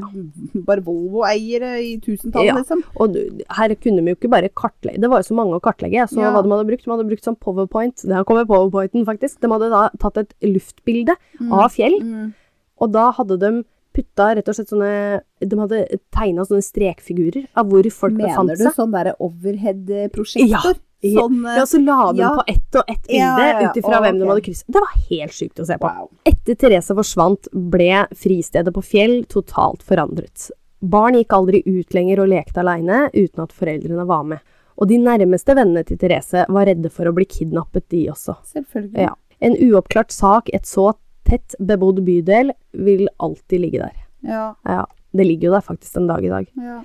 ja.
eh, bare Volvo-eiere i tusentall,
Ja.
liksom.
Og du- her kunne de jo ikke bare kartlegge Det var jo så mange å kartlegge. Jeg så
Ja.
hva de hadde brukt. De hadde brukt sånn powerpoint. Der kommer powerpointen, faktisk. De hadde da tatt et luftbilde av fjell.
Mm.
Og da hadde de putta rett og slett sånne De hadde tegna sånne strekfigurer av hvor folk
Mm. Mener
befant
du
seg.
sånn derre overhead-prosjektor? Sånn eh,
Ja, så la de
Ja.
på ett og ett bilde
Ja, ja, ja.
ut ifra
Å,
hvem de
ok.
hadde krysset. Det var helt sjukt å se på.
Wow.
Etter Therese forsvant, ble fristedet på Fjell totalt forandret. Barn gikk aldri ut lenger og lekte aleine uten at foreldrene var med. Og de nærmeste vennene til Therese var redde for å bli kidnappet, de også.
Selvfølgelig.
Ja. En uoppklart sak, et så tett bebodd bydel, vil alltid ligge der.
Ja,
Ja, det ligger jo der faktisk den dag i dag.
ja.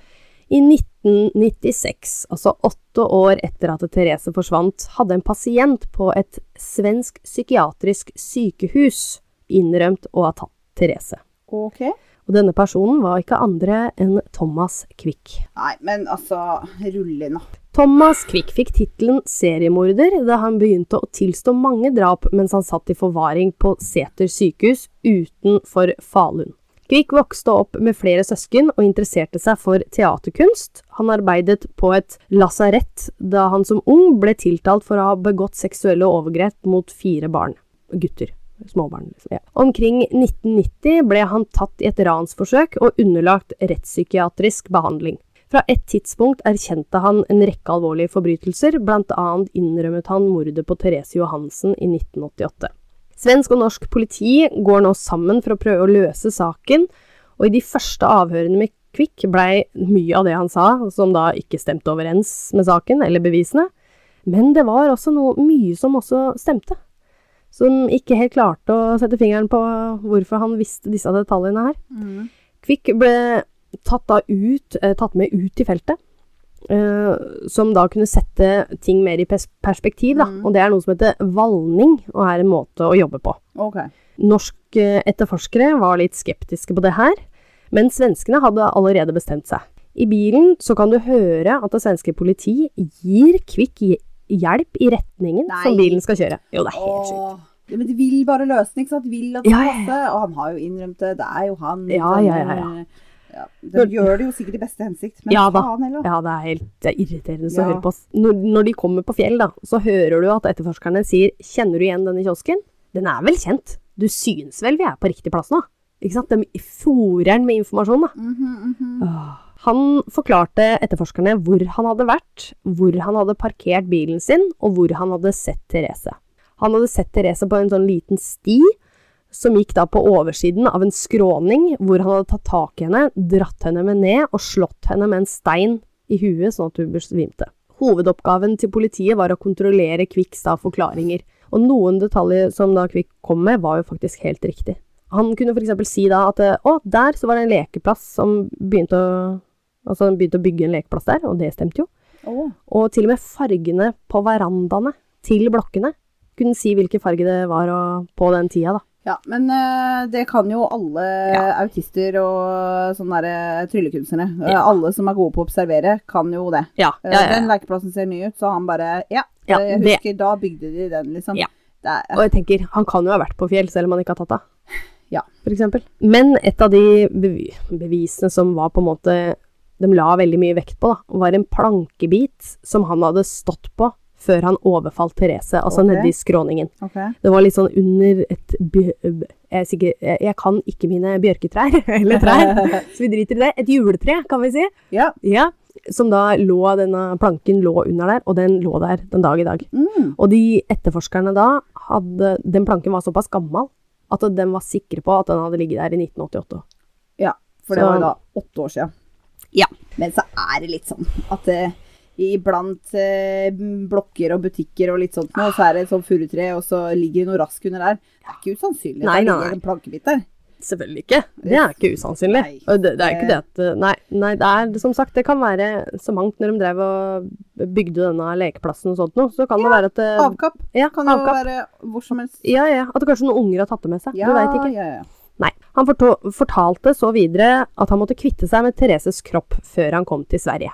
I 1996, altså åtte år etter at Therese forsvant, hadde en pasient på et svensk psykiatrisk sykehus innrømt å ha tatt Therese.
Ok.
Og denne personen var ikke andre enn Thomas Quick.
Nei, men altså, rulle inn, da.
Thomas Quick fikk tittelen seriemorder da han begynte å tilstå mange drap mens han satt i forvaring på Sæter sykehus utenfor Falun. Quick vokste opp med flere søsken og interesserte seg for teaterkunst. Han arbeidet på et lasarett da han som ung ble tiltalt for å ha begått seksuelle overgrep mot fire barn. Gutter. Småbarn, liksom. Ja. Omkring 1990 ble han tatt i et ransforsøk og underlagt rettspsykiatrisk behandling. Fra et tidspunkt erkjente han en rekke alvorlige forbrytelser, bl.a. innrømmet han mordet på Therese Johansen i 1988. Svensk og norsk politi går nå sammen for å prøve å løse saken, og i de første avhørene med Kvikk blei mye av det han sa, som da ikke stemte overens med saken eller bevisene, men det var også noe mye som også stemte. Som ikke helt klarte å sette fingeren på hvorfor han visste disse detaljene her. Kvikk ble tatt, da ut, eh, tatt med ut i feltet, eh, som da kunne sette ting mer i pers perspektiv. Da.
Mm.
Og det er noe som heter valning, og er en måte å jobbe på.
Ok.
Norske etterforskere var litt skeptiske på det her, men svenskene hadde allerede bestemt seg. I bilen så kan du høre at det svenske politi gir Kvikk hj- hjelp i retningen som
Nei.
bilen skal kjøre. Jo, det er helt sjukt.
Åh. Ja, men de vil bare løse den, ikke sant? De vil at det
Ja,
skal
ja, ja.
passe. Og han har jo innrømt det. Det er jo han.
Ja,
liksom.
ja, ja, ja.
Ja, De gjør det jo sikkert i beste hensikt, men
Ja da.
faen heller.
Ja, det er helt det er irriterende å
Ja.
høre på. ass. Når, når de kommer på fjell, da, så hører du at etterforskerne sier 'Kjenner du igjen denne kiosken?' Den er vel kjent? Du syns vel vi er på riktig plass nå? Ikke sant? De fòrer den med informasjon, da.
Mhm, mhm.
Åh. Han forklarte etterforskerne hvor han hadde vært, hvor han hadde parkert bilen sin, og hvor han hadde sett Therese. Han hadde sett Therese på en sånn liten sti, som gikk da på oversiden av en skråning, hvor han hadde tatt tak i henne, dratt henne med ned og slått henne med en stein i huet, sånn at hun besvimte. Hovedoppgaven til politiet var å kontrollere Kvikks da forklaringer, og noen detaljer som da Kvikk kom med, var jo faktisk helt riktig. Han kunne f.eks. si da at eh, å, der så var det en lekeplass som begynte å Altså, han begynte å bygge en lekeplass der, og det stemte jo.
Åh.
Og til og med fargene på verandaene til blokkene kunne si hvilken farge det var og, på den tida, da.
Ja, men eh, det kan jo alle autister og sånne der, eh, tryllekunstnere. Eh,
Ja.
Alle som er gode på å observere, kan jo det.
Ja,
Eh, Den lekeplassen ser ny ut, så han bare Ja,
Ja,
eh, jeg
det-
husker da bygde de den, liksom.
Ja.
Det er,
Og jeg tenker, han kan jo ha vært på fjell, selv om han ikke har tatt av.
Ja.
For eksempel. Men et av de bevi- bevisene som var på en måte De la veldig mye vekt på, da, var en plankebit som han hadde stått på før han overfalt Therese, altså
Ok.
nede i skråningen.
ok.
Det var litt sånn under et bjø- jeg, er sikker, jeg jeg kan ikke mine bjørketrær, eller trær, så vi driter i det. Et juletre, kan vi si.
Ja.
Ja. Som da lå, denne planken lå under der, og den lå der den dag i dag.
Mm.
Og de etterforskerne da hadde Den planken var såpass gammel at de var sikre på at den hadde ligget der i 1988.
Ja, for det
Så-
var jo da åtte år siden.
Ja.
Men så er det litt sånn at eh, iblant eh, blokker og butikker og litt sånt nå, så er det et sånt furutre, og så ligger det noe rask under der. Det er ikke usannsynlig at
Nei,
det
nei, nei.
ligger en plankebit der.
Selvfølgelig ikke. Det er ikke usannsynlig.
Nei.
Og det, det er ikke det at eh, Nei, nei det er som sagt, det kan være så mangt når de drev og bygde denne lekeplassen og sånt noe, så kan det være at det,
Avkapp
Eh, ja,
kan jo
avkapp.
være hvor som helst.
Ja, ja. At kanskje noen unger har tatt det med seg. du veit ikke.
ja, ja.
Nei. Han forto- fortalte så videre at han måtte kvitte seg med Thereses kropp før han kom til Sverige.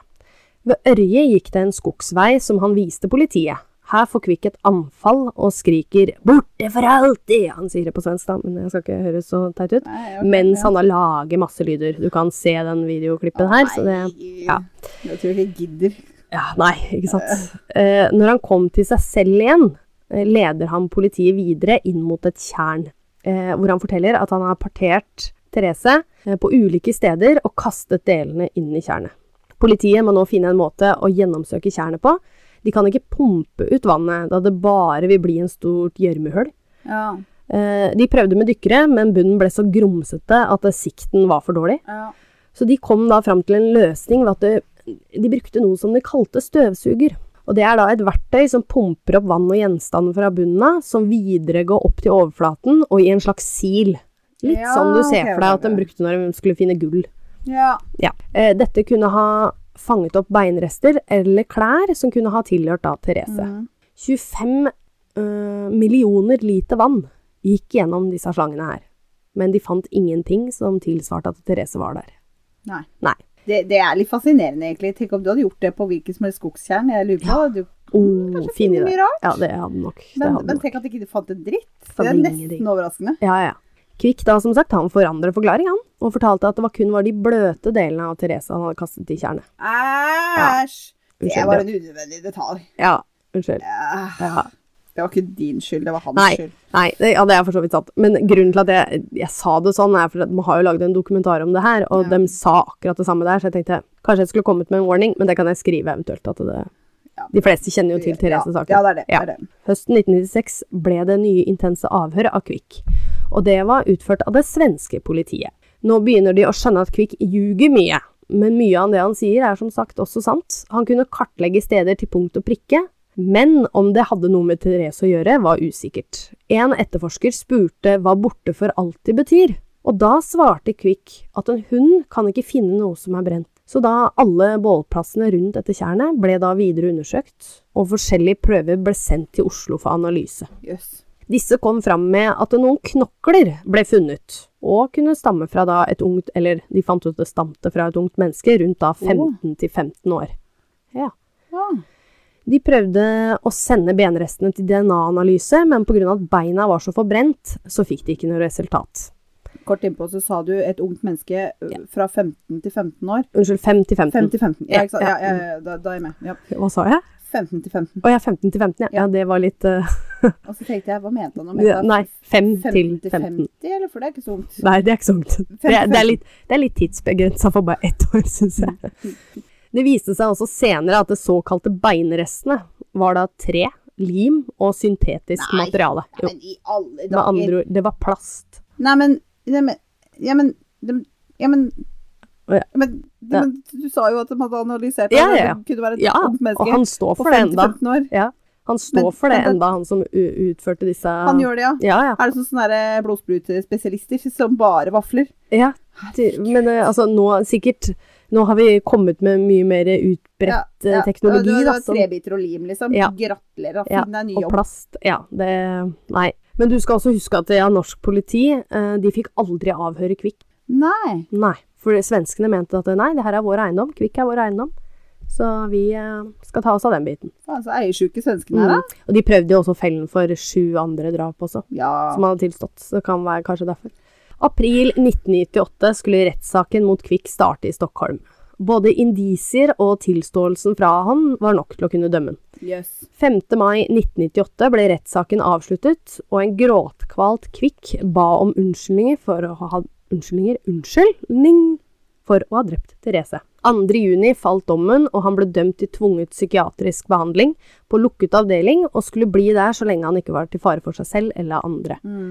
Ved Ørje gikk det en skogsvei som han viste politiet. Her får Kvikk et anfall og skriker 'borte for alltid'. Han sier det på svensk, da, men jeg skal ikke høres så teit ut.
Nei, ok,
Mens
ja.
han da lager masse lyder. Du kan se den videoklippen her. Så det,
Nei,
ja.
Jeg tror ikke jeg gidder.
ja, nei, ikke sant. Eh, når han kom til seg selv igjen, eh, leder han politiet videre inn mot et tjern, eh, hvor han forteller at han har partert Therese eh, på ulike steder og kastet delene inn i tjernet. Politiet må nå finne en måte å gjennomsøke tjernet på, De kan ikke pumpe ut vannet, da det bare vil bli en stort gjørmehull.
Ja.
Eh, De prøvde med dykkere, men bunnen ble så grumsete at eh, sikten var for dårlig.
ja.
Så de kom da fram til en løsning ved at det, de brukte noe som de kalte støvsuger. Og det er da et verktøy som pumper opp vann og gjenstander fra bunnen av, som videre går opp til overflaten og i en slags sil. Litt
Ja,
sånn du ser
ok,
for deg
ok,
at de
ok.
brukte når de skulle finne gull.
ja.
Ja. Eh, Dette kunne ha fanget opp beinrester eller klær som kunne ha tilhørt da Therese.
Mhm.
25 eh, millioner liter vann gikk gjennom disse slangene her. Men de fant ingenting som tilsvarte at Therese var der.
Nei.
Nei.
Det, det er litt fascinerende, egentlig. Tenk om du hadde gjort det på hvilken som helst skogstjern. Jeg lurer på du,
Oh,
Mm, Kanskje
fin
finne
idé.
mye rart.
Ja, det hadde nok. det
Men,
hadde
men
nok.
tenk at ikke du fant en dritt. Det
Fant
er
ingenting.
nesten overraskende.
Ja, ja. Kvikk da, som sagt, han forandrer forklaring, han, og fortalte at det var kun var de bløte delene av Therese han hadde kastet i tjernet.
Æsj! Det
Unnskyld,
var
ja.
en unødvendig detalj.
Ja, unnskyld.
Æh,
Ja.
Det var ikke din skyld, det var hans
Nei,
skyld.
nei det, ja, det er for så vidt sant. Men grunnen til at jeg, jeg sa det sånn, er for at man har jo laget en dokumentar om det her, og
Ja.
de sa akkurat det samme der, så jeg tenkte kanskje jeg skulle kommet med en warning, men det kan jeg skrive eventuelt. At det,
Ja.
de fleste kjenner jo til Therese
ja,
Saken.
ja, det er det.
Ja.
det, er det.
Høsten 1996 ble det nye intense avhør av Kvikk, og det var utført av det svenske politiet. Nå begynner de å skjønne at Kvikk ljuger mye, men mye av det han sier er som sagt også sant. Han kunne kartlegge steder til punkt og prikke, men om det hadde noe med Therese å gjøre, var usikkert. En etterforsker spurte hva borte for alltid betyr, og da svarte Kvikk at en hund kan ikke finne noe som er brent. Så da alle bålplassene rundt dette tjernet ble da videre undersøkt, og forskjellige prøver ble sendt til Oslo for analyse.
Jøss.
Disse kom fram med at noen knokler ble funnet, og kunne stamme fra da et ungt, eller de fant ut det stamte fra et ungt menneske rundt da 15 til 15 år. Ja.
Ja.
De prøvde å sende benrestene til DNA-analyse, men pga. at beina var så forbrent, så fikk de ikke noe resultat.
Kort innpå så sa du et ungt menneske ø, fra 15 til 15 år.
Unnskyld, 5 til 15.
5 til 15. Ja, ikke sant?
Ja,
Ja, ja, ja, da, da er jeg med. Ja.
Hva sa jeg?
15 til 15.
Å ja, 15 til 15, ja. ja det var litt eh,
Og så tenkte jeg, hva mente han om
Ja,
dette?
Nei, 5 til
15 til
15.
50, eller? For det er ikke så ungt.
Nei, det er ikke så ungt. Det er, det er litt, det er litt tidsbegrensa for bare ett år, syns jeg. Det viste seg også senere at det såkalte beinrestene var da tre, lim og syntetisk
Nei.
materiale. Jo,
Men i alle
med
dager.
andre ord, det var plast.
Nei, men Ja, men Ja, men, de- ja, men,
Ja.
men, de-
Ja.
men Du sa jo at de hadde analysert
Ja,
det,
ja, ja.
det kunne være et
Ja,
ungt menneske.
og han står
på
for det enda.
50-15 år.
Ja, han
Men-
står for det
men det-
enda, han som u- utførte disse
Han gjør det, ja.
Ja, ja.
Er det sånn sånne der blodsprutespesialister som bare vafler?
ja. ty- Men eh, altså, nå sikkert Nå har vi kommet med mye mer utbredt eh, teknologi,
Du, du,
da.
har
som-
trebiter og lim, liksom.
Ja.
Gratulerer, da.
Ja,
Finn deg en ny
Og
jobb.
plast. Ja, det Nei. Men du skal også huske at ja, norsk politi eh, de fikk aldri avhøre Kvikk.
Nei.
Nei. For svenskene mente at nei, det her er vår eiendom. Kvikk er vår eiendom. Så vi eh, skal ta oss av den biten.
Faen, så eiersjuke svenskene her, da.
Mm. Og de prøvde jo også fellen for sju andre drap også,
Ja.
som hadde tilstått. Så det kan være kanskje derfor. April 1998 skulle rettssaken mot Kvikk starte i Stockholm. Både indisier og tilståelsen fra han var nok til å kunne dømme han.
Jøss.
5. mai 1998 ble rettssaken avsluttet, og en gråtkvalt Kvikk ba om unnskyldninger for å ha unnskyldninger, unnskyldning for å ha drept Therese. 2. juni falt dommen, og han ble dømt til tvunget psykiatrisk behandling på lukket avdeling, og skulle bli der så lenge han ikke var til fare for seg selv eller andre.
Mm.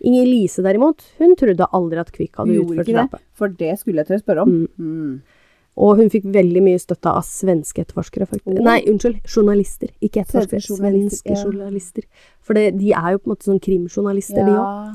Inger Lise derimot, hun trodde aldri at Kvikk
Du
hadde
gjorde
utført
ikke
drapet.
det? For det skulle jeg til å spørre om. Mm.
Og hun fikk veldig mye støtte av svenske etterforskere. faktisk.
Åh.
Nei, unnskyld, journalister. Ikke etterforskere,
Oh. Svenske
svenske
journalister,
journalister.
ja.
For det, de er jo på en måte sånn krimjournalister, de òg.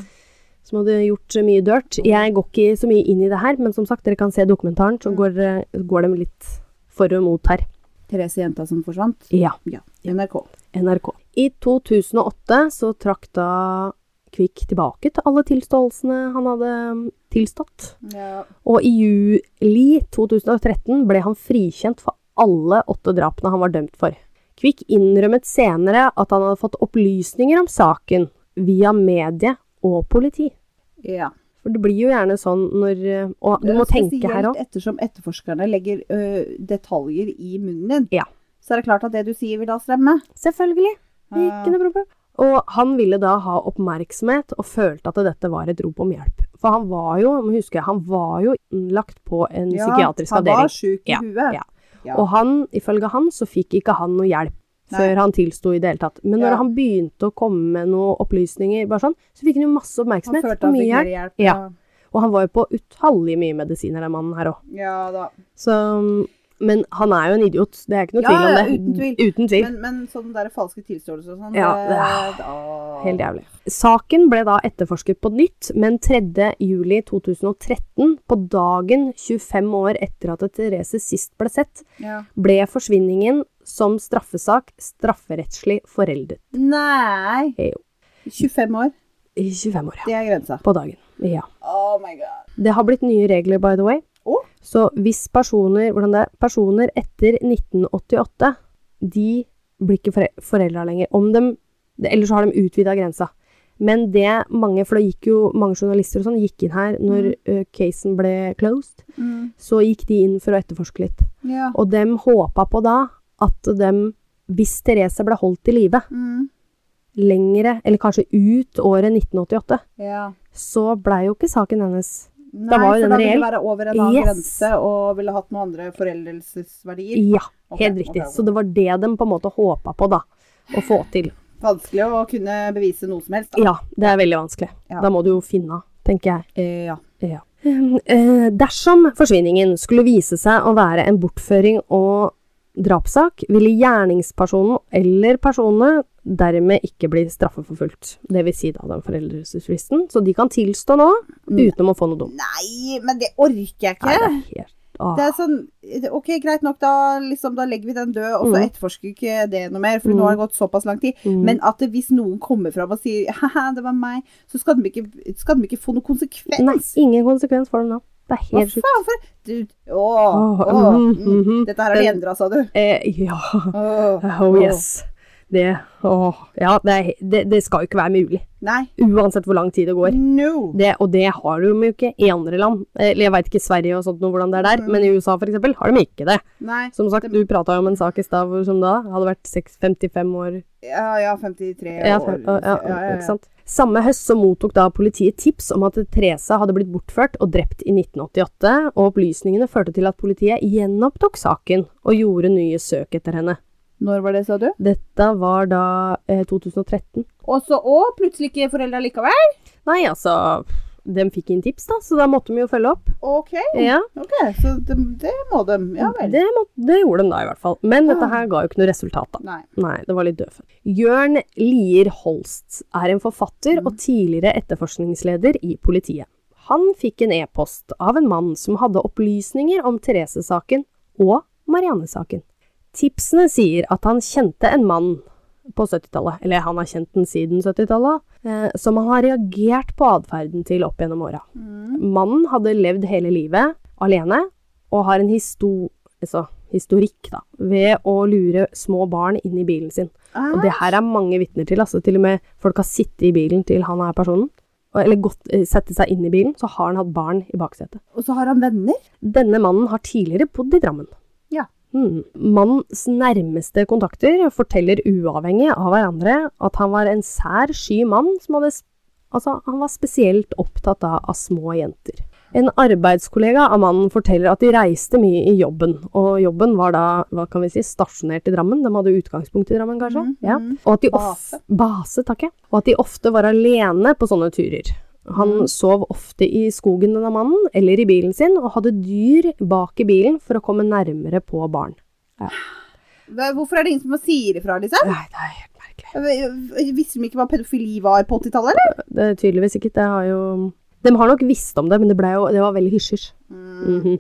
Som hadde gjort eh, mye dirt. Jeg går ikke så mye inn i det her, men som sagt, dere kan se dokumentaren,
Mm.
så går, eh, går de litt for og mot her.
Therese jenta som forsvant.
Ja,
Ja. NRK.
NRK. I 2008 så trakk da Kvikk tilbake til alle tilståelsene han hadde mm, tilstått.
Ja.
Og i juli 2013 ble han frikjent for alle åtte drapene han var dømt for. Kvikk innrømmet senere at han hadde fått opplysninger om saken via medie og politi.
ja.
For det blir jo gjerne sånn når eh, Og du må tenke her òg.
Spesielt ettersom etterforskerne legger ø, detaljer i munnen din.
Ja.
Så er det klart at det du sier vil da stemme.
Selvfølgelig.
Ja.
Ikke noe problem. Og han ville da ha oppmerksomhet, og følte at dette var et rop om hjelp. For han var jo, må huske, han var jo innlagt på en psykiatrisk
han
avdeling.
var sjuk i
Ja,
huet.
ja.
Ja.
Og han, ifølge han, så fikk ikke han noe hjelp. før han tilsto i det hele tatt. Men når
Ja.
han begynte å komme med noen opplysninger, bare sånn, så fikk han jo masse
Han
oppmerksomhet.
følte
og
han
mye
fikk mer
hjelp.
hjelp.
Ja. Og han var jo på utallige mye medisiner, den mannen her òg.
ja da.
Så Men han er jo en idiot. Det er ikke noe
Ja,
tvil om
ja,
det.
uten tvil.
Uten tvil.
Men, men sånne der falske tilståelser og sånn
Ja, Ah,
det, da-
Helt jævlig. Saken ble da etterforsket på nytt, men 3. juli 2013, på dagen 25 år etter at Therese sist ble sett,
ja.
ble forsvinningen som straffesak strafferettslig foreldet.
Nei!
Jo.
25 år,
I 25 år, ja.
det er grensa.
På dagen. Ja.
Oh my god.
Det har blitt nye regler, by the way.
Å?
Så hvis personer, hvordan det er, personer etter 1988, de blir ikke fore- foreldre lenger. Om dem, det- eller så har de utvida grensa. Men det mange, for da gikk jo mange journalister og sånn, gikk inn her når ø, casen ble closed. Så gikk de inn for å etterforske litt.
Mm, Ja.
Og dem håpa på da at dem, hvis Therese ble holdt i live
Mm.
lengre, eller kanskje ut året 1988,
ja.
så blei jo ikke saken hennes
Nei,
Da var jo
for
den
da ville
reell.
det være over en annen
Yes.
grense og ville hatt noen andre foreldelsesverdier.
Ja,
Ok,
helt
ok,
riktig.
ok.
Så det var det de på en måte håpa på, da. Å få til.
Vanskelig å kunne bevise noe som helst. da.
Ja, det er veldig vanskelig.
Ja.
Da må du jo finne av, tenker jeg.
Eh, ja.
Ja. Eh, dersom forsvinningen skulle vise seg å være en bortføring og drapssak, ville gjerningspersonen eller personene dermed ikke bli straffeforfulgt. Det vil si da den foreldelsesfristen. Så de kan tilstå nå,
Mm.
uten å få noe dumt.
Nei, men det orker jeg
Nei,
ikke.
det er helt... Ah.
Det er sånn, det- ok, greit nok, da, liksom, da legger vi den død, og så
Mm.
etterforsker vi ikke det noe mer, for nå har det gått såpass lang tid. Men at det, hvis noen kommer fram og sier «Haha, det var meg, så skal de ikke, skal de ikke få noen konsekvens.
Nei, ingen konsekvens for dem nå. Det er
Hva
helt sjukt.
faen for du, Åh,
Åh,
åh,
mhm,
mm,
mhm.
Dette her har de endra, sa du.
Eh, ja.
Åh,
Oh yes. Det, åh, ja, det, er- det, det skal jo ikke være mulig.
Nei.
Uansett hvor lang tid det går.
No.
Det, og det har de jo ikke i andre land. Eller jeg veit ikke Sverige og sånt noe, hvordan det er der, men i USA for eksempel har de ikke det.
Nei.
Som sagt, du prata jo om en sak i stad hvor- som da hadde vært seks- 55 år
Ja, ja, 53 år.
ja, fem- ja, ja, Ikke sant. Samme høst så mottok da politiet tips om at Therese hadde blitt bortført og drept i 1988, og opplysningene førte til at politiet gjenopptok saken og gjorde nye søk etter henne.
Når var det, sa du?
Dette var da eh, 2013.
Og så òg plutselig ikke foreldra likevel?
Nei, altså De fikk inn tips, da, så da måtte de jo følge opp.
OK.
Ja,
ok, Så det, det må de. Ja vel.
Eh. det, må, det gjorde de da, i hvert fall. Men dette her ga jo ikke noe resultat, da.
Nei.
Nei, det var litt døvfødt. Jørn Lier Holst er en forfatter og tidligere etterforskningsleder i politiet. Han fikk en e-post av en mann som hadde opplysninger om Therese-saken og Marianne-saken. Tipsene sier at han kjente en mann på 70-tallet, eller han har kjent den siden 70-tallet, eh, som han har reagert på atferden til opp gjennom åra. Mannen hadde levd hele livet alene, og har en histo altså, historikk da, ved å lure små barn inn i bilen sin.
Ah.
Og det her er mange vitner til. Altså, til og med folk har sittet i bilen til han er personen, og- eller gått, eh, sette seg inn i bilen, så har han hatt barn i baksetet.
Og så har han venner?
Denne mannen har tidligere bodd i Drammen.
Ja.
Hmm. Mannens nærmeste kontakter forteller uavhengig av hverandre at han var en sær sky mann som hadde sp- Altså, han var spesielt opptatt da av små jenter. En arbeidskollega av mannen forteller at de reiste mye i jobben, og jobben var da, hva kan vi si, stasjonert i Drammen. De hadde utgangspunkt i Drammen, kanskje.
Mhm.
ja. Og at de
Base.
of- Base, takk ja. Og at de ofte var alene på sånne turer. Han sov ofte i skogen denne mannen, eller i bilen sin, og hadde dyr bak i bilen for å komme nærmere på barn.
Hva- Hvorfor er det ingen som sier ifra, liksom?
Nei, det er helt merkelig.
Visste de ikke hva pedofili var på 80-tallet, eller?
Det er tydeligvis ikke, det har jo... De har nok visst om det, men det, ble jo, det var veldig hysjers. Mhm.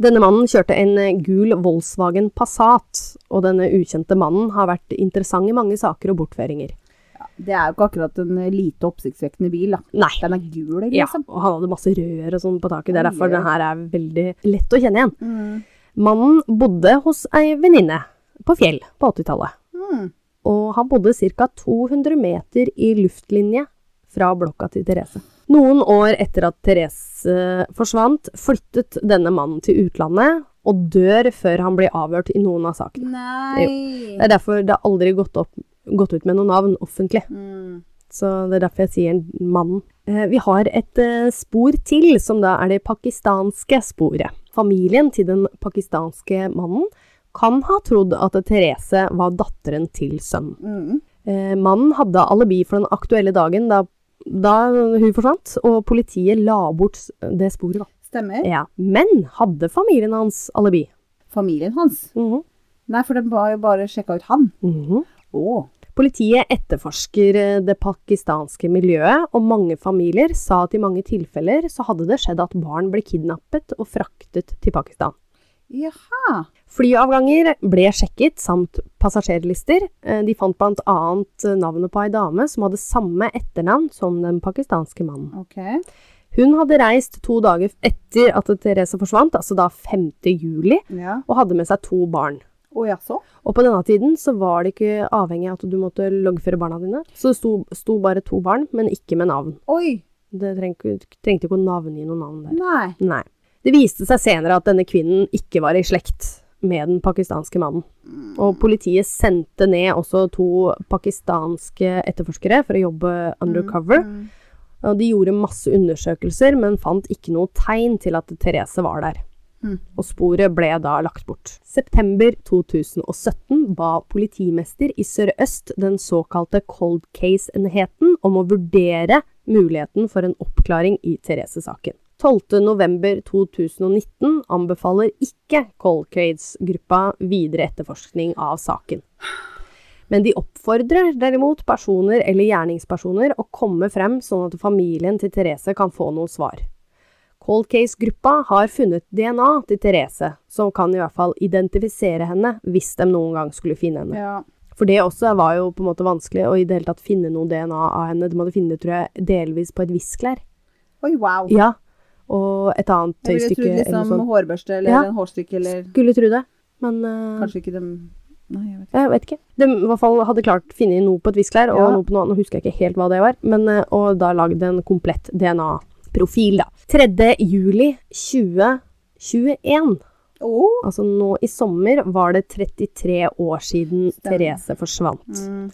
Denne mannen kjørte en eh, gul Volkswagen Passat, og denne ukjente mannen har vært interessant i mange saker og bortføringer.
Det er jo ikke akkurat en eh, lite oppsiktsvekkende bil, da.
Nei.
Den er gul,
Ja,
liksom.
og han hadde masse rør og sånn på taket, det er derfor
Oi, oi.
den her er veldig lett å kjenne igjen.
Mm.
Mannen bodde hos ei venninne på Fjell på 80-tallet,
Mm.
og han bodde ca. 200 meter i luftlinje fra blokka til Therese. Noen år etter at Therese eh, forsvant, flyttet denne mannen til utlandet og dør før han blir avhørt i noen av sakene.
Nei.
Det er derfor det har aldri gått, opp, gått ut med noe navn offentlig.
Mm.
Så det er derfor jeg sier mannen. Eh, Vi har et eh, spor til, som da er det pakistanske sporet. Familien til den pakistanske mannen kan ha trodd at Therese var datteren til sønnen.
Mm.
Eh, mannen hadde alibi for den aktuelle dagen da, da hun forsvant, og politiet la bort s- det sporet. da.
Stemmer.
Ja. Men hadde familien hans alibi?
Familien hans.
Mhm.
Nei, for den var jo bare sjekka ut han.
Mhm.
Å.
Politiet etterforsker eh, det pakistanske miljøet, og mange familier sa at i mange tilfeller så hadde det skjedd at barn ble kidnappet og fraktet til Pakistan.
Jaha.
Flyavganger ble sjekket, samt passasjerlister. Eh, De fant bl.a. navnet på ei dame som hadde samme etternavn som den pakistanske mannen.
Ok.
Hun hadde reist to dager etter at Therese forsvant, altså da 5. juli,
Ja.
og hadde med seg to barn.
Å jaså?
Og på denne tiden så var det ikke avhengig av at du måtte loggføre barna dine. Så det sto, sto bare to barn, men ikke med navn.
Oi.
Det trengte, trengte ikke å navngi noe navn der.
Nei.
Nei. Det viste seg senere at denne kvinnen ikke var i slekt med den pakistanske mannen. Og politiet sendte ned også to pakistanske etterforskere for å jobbe undercover.
Mm.
Og de gjorde masse undersøkelser, men fant ikke noe tegn til at Therese var der.
Mm.
Og sporet ble da lagt bort. September 2017 ba politimester i Sør-Øst den såkalte cold case-enheten om å vurdere muligheten for en oppklaring i Therese-saken. 12.11.2019 anbefaler ikke cold case-gruppa videre etterforskning av saken. Men de oppfordrer derimot personer eller gjerningspersoner å komme frem sånn at familien til Therese kan få noen svar. Cold Case-gruppa har funnet DNA til Therese, som kan i hvert fall identifisere henne hvis de noen gang skulle finne henne.
Ja.
For det også var jo på en måte vanskelig å i det hele tatt finne noe DNA av henne. De hadde funnet det, tror jeg, delvis på et viskelær.
Oi, wow.
Ja, og et annet
Jeg ville
tøystykke
trodd
eller noe
liksom
sånt.
hårbørste eller
Ja. Mm.
en hårstykke eller
Skulle tro det, men eh,
Kanskje ikke dem Nei, jeg vet ikke.
Jeg vet ikke. De i hvert fall hadde klart funnet noe på et viskelær, og
Ja.
noe på noe annet. Nå husker jeg ikke helt hva det var, men, eh, og da lagd en komplett DNA-profil, da. 3. juli 2021,
Å.
altså nå i sommer, var det 33 år siden
Stemmer.
Therese forsvant.
Mm.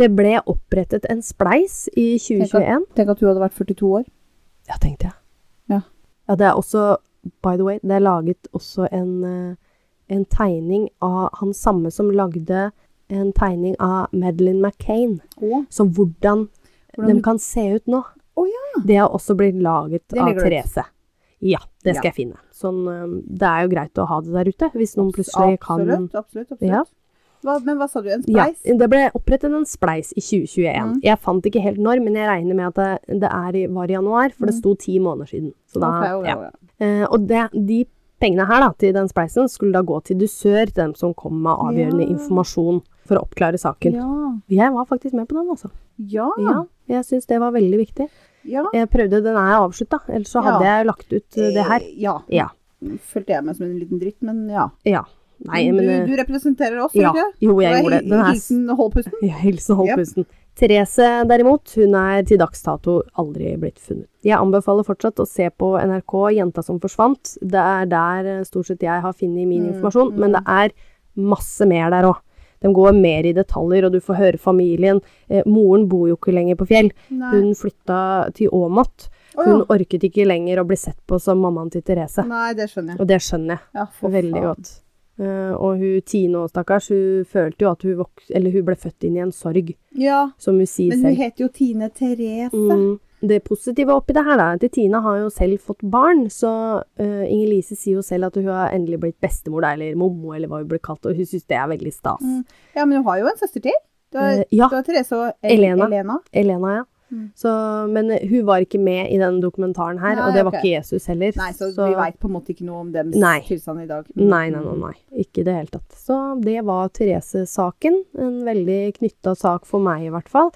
Det ble opprettet en spleis i 2021.
Tenk at du hadde vært 42 år.
Ja, tenkte jeg.
Ja.
ja, det er også, by the way, det er laget også en, eh, en tegning av han samme som lagde en tegning av Madeleine McCain.
Å.
Så hvordan,
Hvordan-
de kan se ut nå.
Å
Det har også blitt laget
Det
av
legger du ut.
Therese. Ja, det skal jeg finne. Sånn, øhm, det er jo greit å ha det der ute, hvis noen plutselig kan
Absolutt, absolutt. absolutt.
Ja.
Hva, men hva sa du, en
ja,
spleis?
det ble opprettet en spleis i 2021.
Mm.
Jeg fant ikke helt når, men jeg regner med at det, det er, i- var i januar, for det
Mm.
sto ti måneder siden. Så da,
Ok, jo,
ja.
jo, jo.
Eh, og det, de pengene her da, til den spleisen skulle da gå til dusør, til dem som kom med avgjørende
Ja.
informasjon for å oppklare saken.
Ja. Ah.
Jeg var faktisk med på den, altså.
Ja. ja.
Ja, jeg syns det var veldig viktig. Jeg prøvde, den er avslutta, ellers så hadde
Ja.
jeg lagt ut eh, det her.
Eh, Ja.
Ja.
Følte jeg meg som en liten dritt, men ja.
Ja. Nei, men eh,
du, du representerer oss,
ja.
gjør du ikke?
Jo, jeg
Det var
gjorde det. Den
hi-
er s-
Hilsen Holpusten.
ja, Hilsen Holpusten. Therese derimot, hun er til dags dato aldri blitt funnet. Jeg anbefaler fortsatt å se på NRK Jenta som forsvant. Det er der eh, stort sett jeg har funnet min
Mm,
informasjon, men det er masse mer der òg. De går mer i detaljer, og du får høre familien. Eh, moren bor jo ikke lenger på Fjell.
Nei.
Hun flytta til Åmot.
Å,
Hun
ja.
orket ikke lenger å bli sett på som mammaen til Therese.
Nei, det skjønner jeg.
Og det skjønner jeg
Ja, for
veldig
faen.
godt. Eh, og hun Tine òg, stakkars, hun følte jo at hun, vok eller hun ble født inn i en sorg,
Ja,
som hun sier
men hun
selv.
heter jo Tine Therese.
Mm. Det positive oppi det her da, er at Tine har jo selv fått barn, så eh, Inger-Lise sier jo selv at hun har endelig blitt bestemor da, eller mommo, eller hva hun blir kalt, og hun syns det er veldig stas.
Mm. Ja, men hun har jo en søster til. Du har,
Eh, ja,
du har Therese og El
Elena.
Elena.
Elena, ja.
Mm.
Så, men eh, hun var ikke med i denne dokumentaren her,
Nei,
og det var
ok.
ikke Jesus heller.
Nei, så, vi veit på en måte ikke noe om dems
Nei.
tilstand i dag.
Nei, nei, nei, nei. Ikke i det hele tatt. Så det var Therese-saken. En veldig knytta sak for meg, i hvert fall.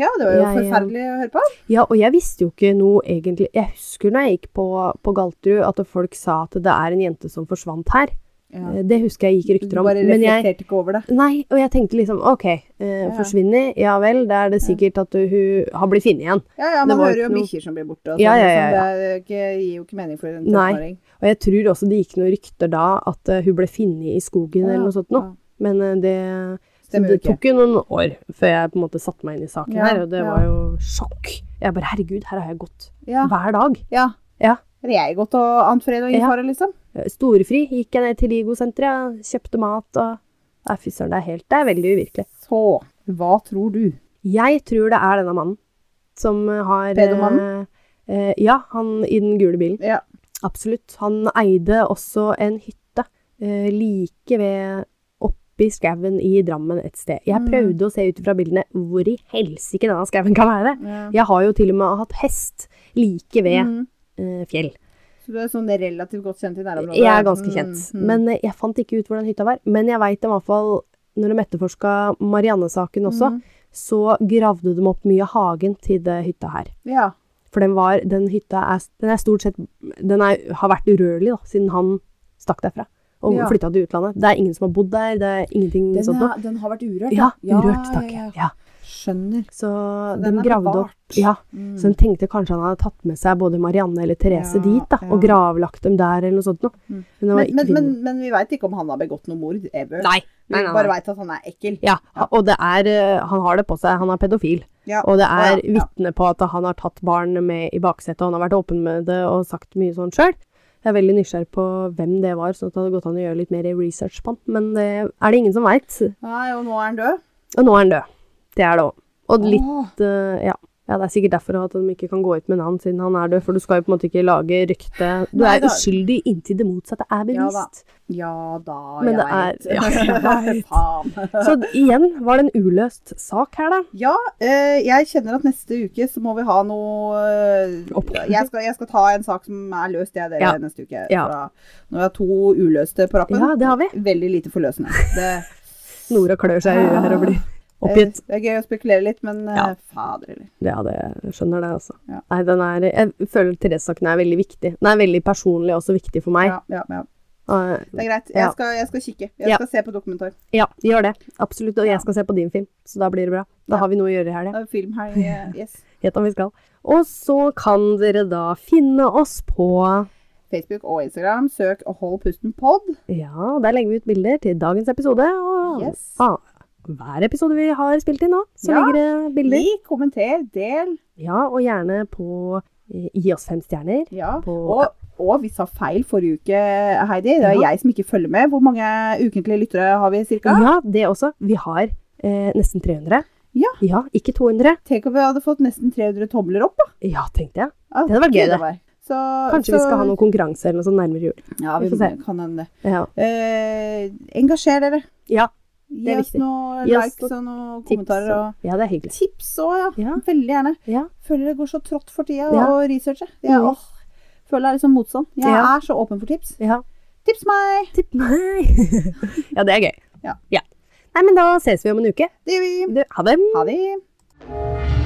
Ja, det var jo
Jeg, eh,
forferdelig å høre på.
Ja, og jeg visste jo ikke noe egentlig Jeg husker når jeg gikk på, på Galterud, at folk sa at det er en jente som forsvant her.
Ja.
Eh, Det husker jeg gikk
Du
rykter om.
bare
Men jeg
reflekterte ikke over det.
Nei, og jeg tenkte liksom OK, eh, forsvinner, ja vel, da er det sikkert at du, hun har blitt funnet igjen.
Ja, ja,
Det
Man
var
hører
ikke
jo om
noe-
bikkjer som blir borte. Og
Ja,
sånn,
ja, ja,
liksom. Det er jo ikke, gir jo ikke mening for en
Nei.
13-åring.
Og jeg tror også det gikk noen rykter da at eh, hun ble funnet i skogen eller noe sånt noe.
Ja,
Men eh, det Så
Stemmer jo
det
ikke.
tok jo noen år før jeg på en måte satte meg inn i saken
Ja,
her, og det
ja.
var jo sjokk. Jeg bare herregud, her har jeg gått
Ja,
hver dag.
ja.
Ja.
Har jeg gått og annet fred og ingen
Ja.
fare, liksom?
eh, storefri gikk jeg ned til Ligo-senteret, kjøpte mat og Nei, fy søren, det er helt Det er veldig uvirkelig.
Så hva tror du?
Jeg tror det er denne mannen som eh, har eh,
Pedomannen?
eh, ja, han i den gule bilen.
Ja.
Absolutt. Han eide også en hytte eh, like ved oppi skauen i Drammen et sted. Jeg
Mm.
prøvde å se ut fra bildene hvor i helsike denne skauen kan være.
ja.
Jeg har jo til og med hatt hest like ved
Mhm.
eh, fjell.
Så du er sånn relativt godt kjent i nærområdet?
Jeg er ganske kjent.
Mhm.
Men eh, jeg fant ikke ut hvor den hytta var. Men jeg veit i hvert fall, når de etterforska Marianne-saken også,
Mhm.
så gravde de opp mye av hagen til det hytta her.
Ja.
For den var Den hytta er, den er stort sett Den er, har vært urørlig, da, siden han stakk derfra. Og
Ja.
flytta til utlandet. Det er ingen som har bodd der, det er ingenting
Den,
sånt noe.
er, den har vært urørt?
Ja,
da.
urørt, takk.
ja, ja.
Ja.
Skjønner.
Så
den
de
er
gravde opp
bevart.
Ja,
Mm.
så de tenkte kanskje han hadde tatt med seg både Marianne eller Therese
Ja,
dit, da, og
ja.
gravlagt dem der, eller noe sånt noe.
Mm.
Men det var
men, men,
ikke-
men, men vi veit ikke om han har begått noe mord ever.
Nei. Nei,
vi
nei,
bare
nei.
veit at han er ekkel.
Ja, og det er eh, Han har det på seg, han er pedofil.
Ja.
Og det er
Å, ja, ja.
vitne på at han har tatt barn med i baksetet, og han har vært åpen med det og sagt mye sånn sjøl. Jeg er veldig nysgjerrig på hvem det var, sånn at det hadde gått an å gjøre litt mer research på han. Men det er det ingen som veit.
Nei, og nå er han død.
Og nå er han død. Det er det òg. Og litt
Åh,
eh, ja. ja, det er sikkert derfor at de ikke kan gå ut med navn siden han er død, for du skal jo på en måte ikke lage rykte Du
Nei
er
da.
uskyldig inntil det motsatte er
Ja da.
bevist.
ja da,
Men det
jeg
er- ja, jeg vet.
Faen.
Så igjen var det en uløst sak her, da.
Ja, eh, jeg kjenner at neste uke så må vi ha noe eh,
Oppfølging.
jeg, skal, jeg skal ta en sak som er løst, jeg, dere,
Ja.
neste uke.
Ja.
Fra, nå har jeg to uløste på rappen.
Ja, det har vi.
Veldig lite forløsende. Det,
Nora klør seg i øyet her og blir oppgitt.
eh, det er gøy å spekulere litt, men eh,
Ja.
fader eller.
Ja, det jeg skjønner det, altså.
Ja.
Nei, den er, jeg føler Therese-saken er veldig viktig. Den er veldig personlig også viktig for meg.
Ja, ja, ja.
Eh,
Det er greit.
Ja.
Jeg skal, jeg skal kikke. Jeg
Ja.
skal se på dokumentar.
Ja, gjør det. Absolutt. Og
Ja.
jeg skal se på din film, så da blir det bra. Da
Ja.
har vi noe å gjøre i helga.
Det er film her. eh, Yes.
Helt om vi skal. Og så kan dere da finne oss på
Facebook og Instagram. Søk og hold pusten pod.
Ja, der legger vi ut bilder til dagens episode. Og
Yes.
ah, hver episode vi har spilt inn nå, så
Ja.
ligger det bilder.
Lik, kommenter, del.
Ja, og gjerne på eh, Gi oss fem stjerner.
Ja.
På-
Og, og vi sa feil forrige uke, Heidi. Det er
Ja.
jeg som ikke følger med. Hvor mange ukentlige lyttere har vi
Ja,
cirka?
det også. Vi har eh, nesten 300.
Ja.
ja. Ikke 200.
Tenk om vi hadde fått nesten 300 tomler opp. da.
Ja, tenkte jeg.
Ah,
Det hadde vært gøy, det.
var. Så,
Kanskje
så,
vi skal ha noen konkurranse eller noe sånt nærmere jul.
Ja, vi,
Vi får se.
kan hende.
Ja.
Eh, engasjer dere.
Ja,
Gi
Det er
oss
viktig.
noen
Gi oss
likes og noen
tips
kommentarer.
og-
Og
ja, det er hyggelig.
tips òg, ja.
Ja.
Veldig gjerne.
Ja.
Føler det går så trått for tida
Ja.
å researche. Jeg
Mhm.
åh, føler det er liksom motstand. Jeg
Ja.
er så åpen for tips.
Ja,
Tips meg!
tipp meg. ja, det er gøy.
Ja.
Nei, men da ses vi om en uke.
Det gjør vi.
Du, ha det.
Ha det.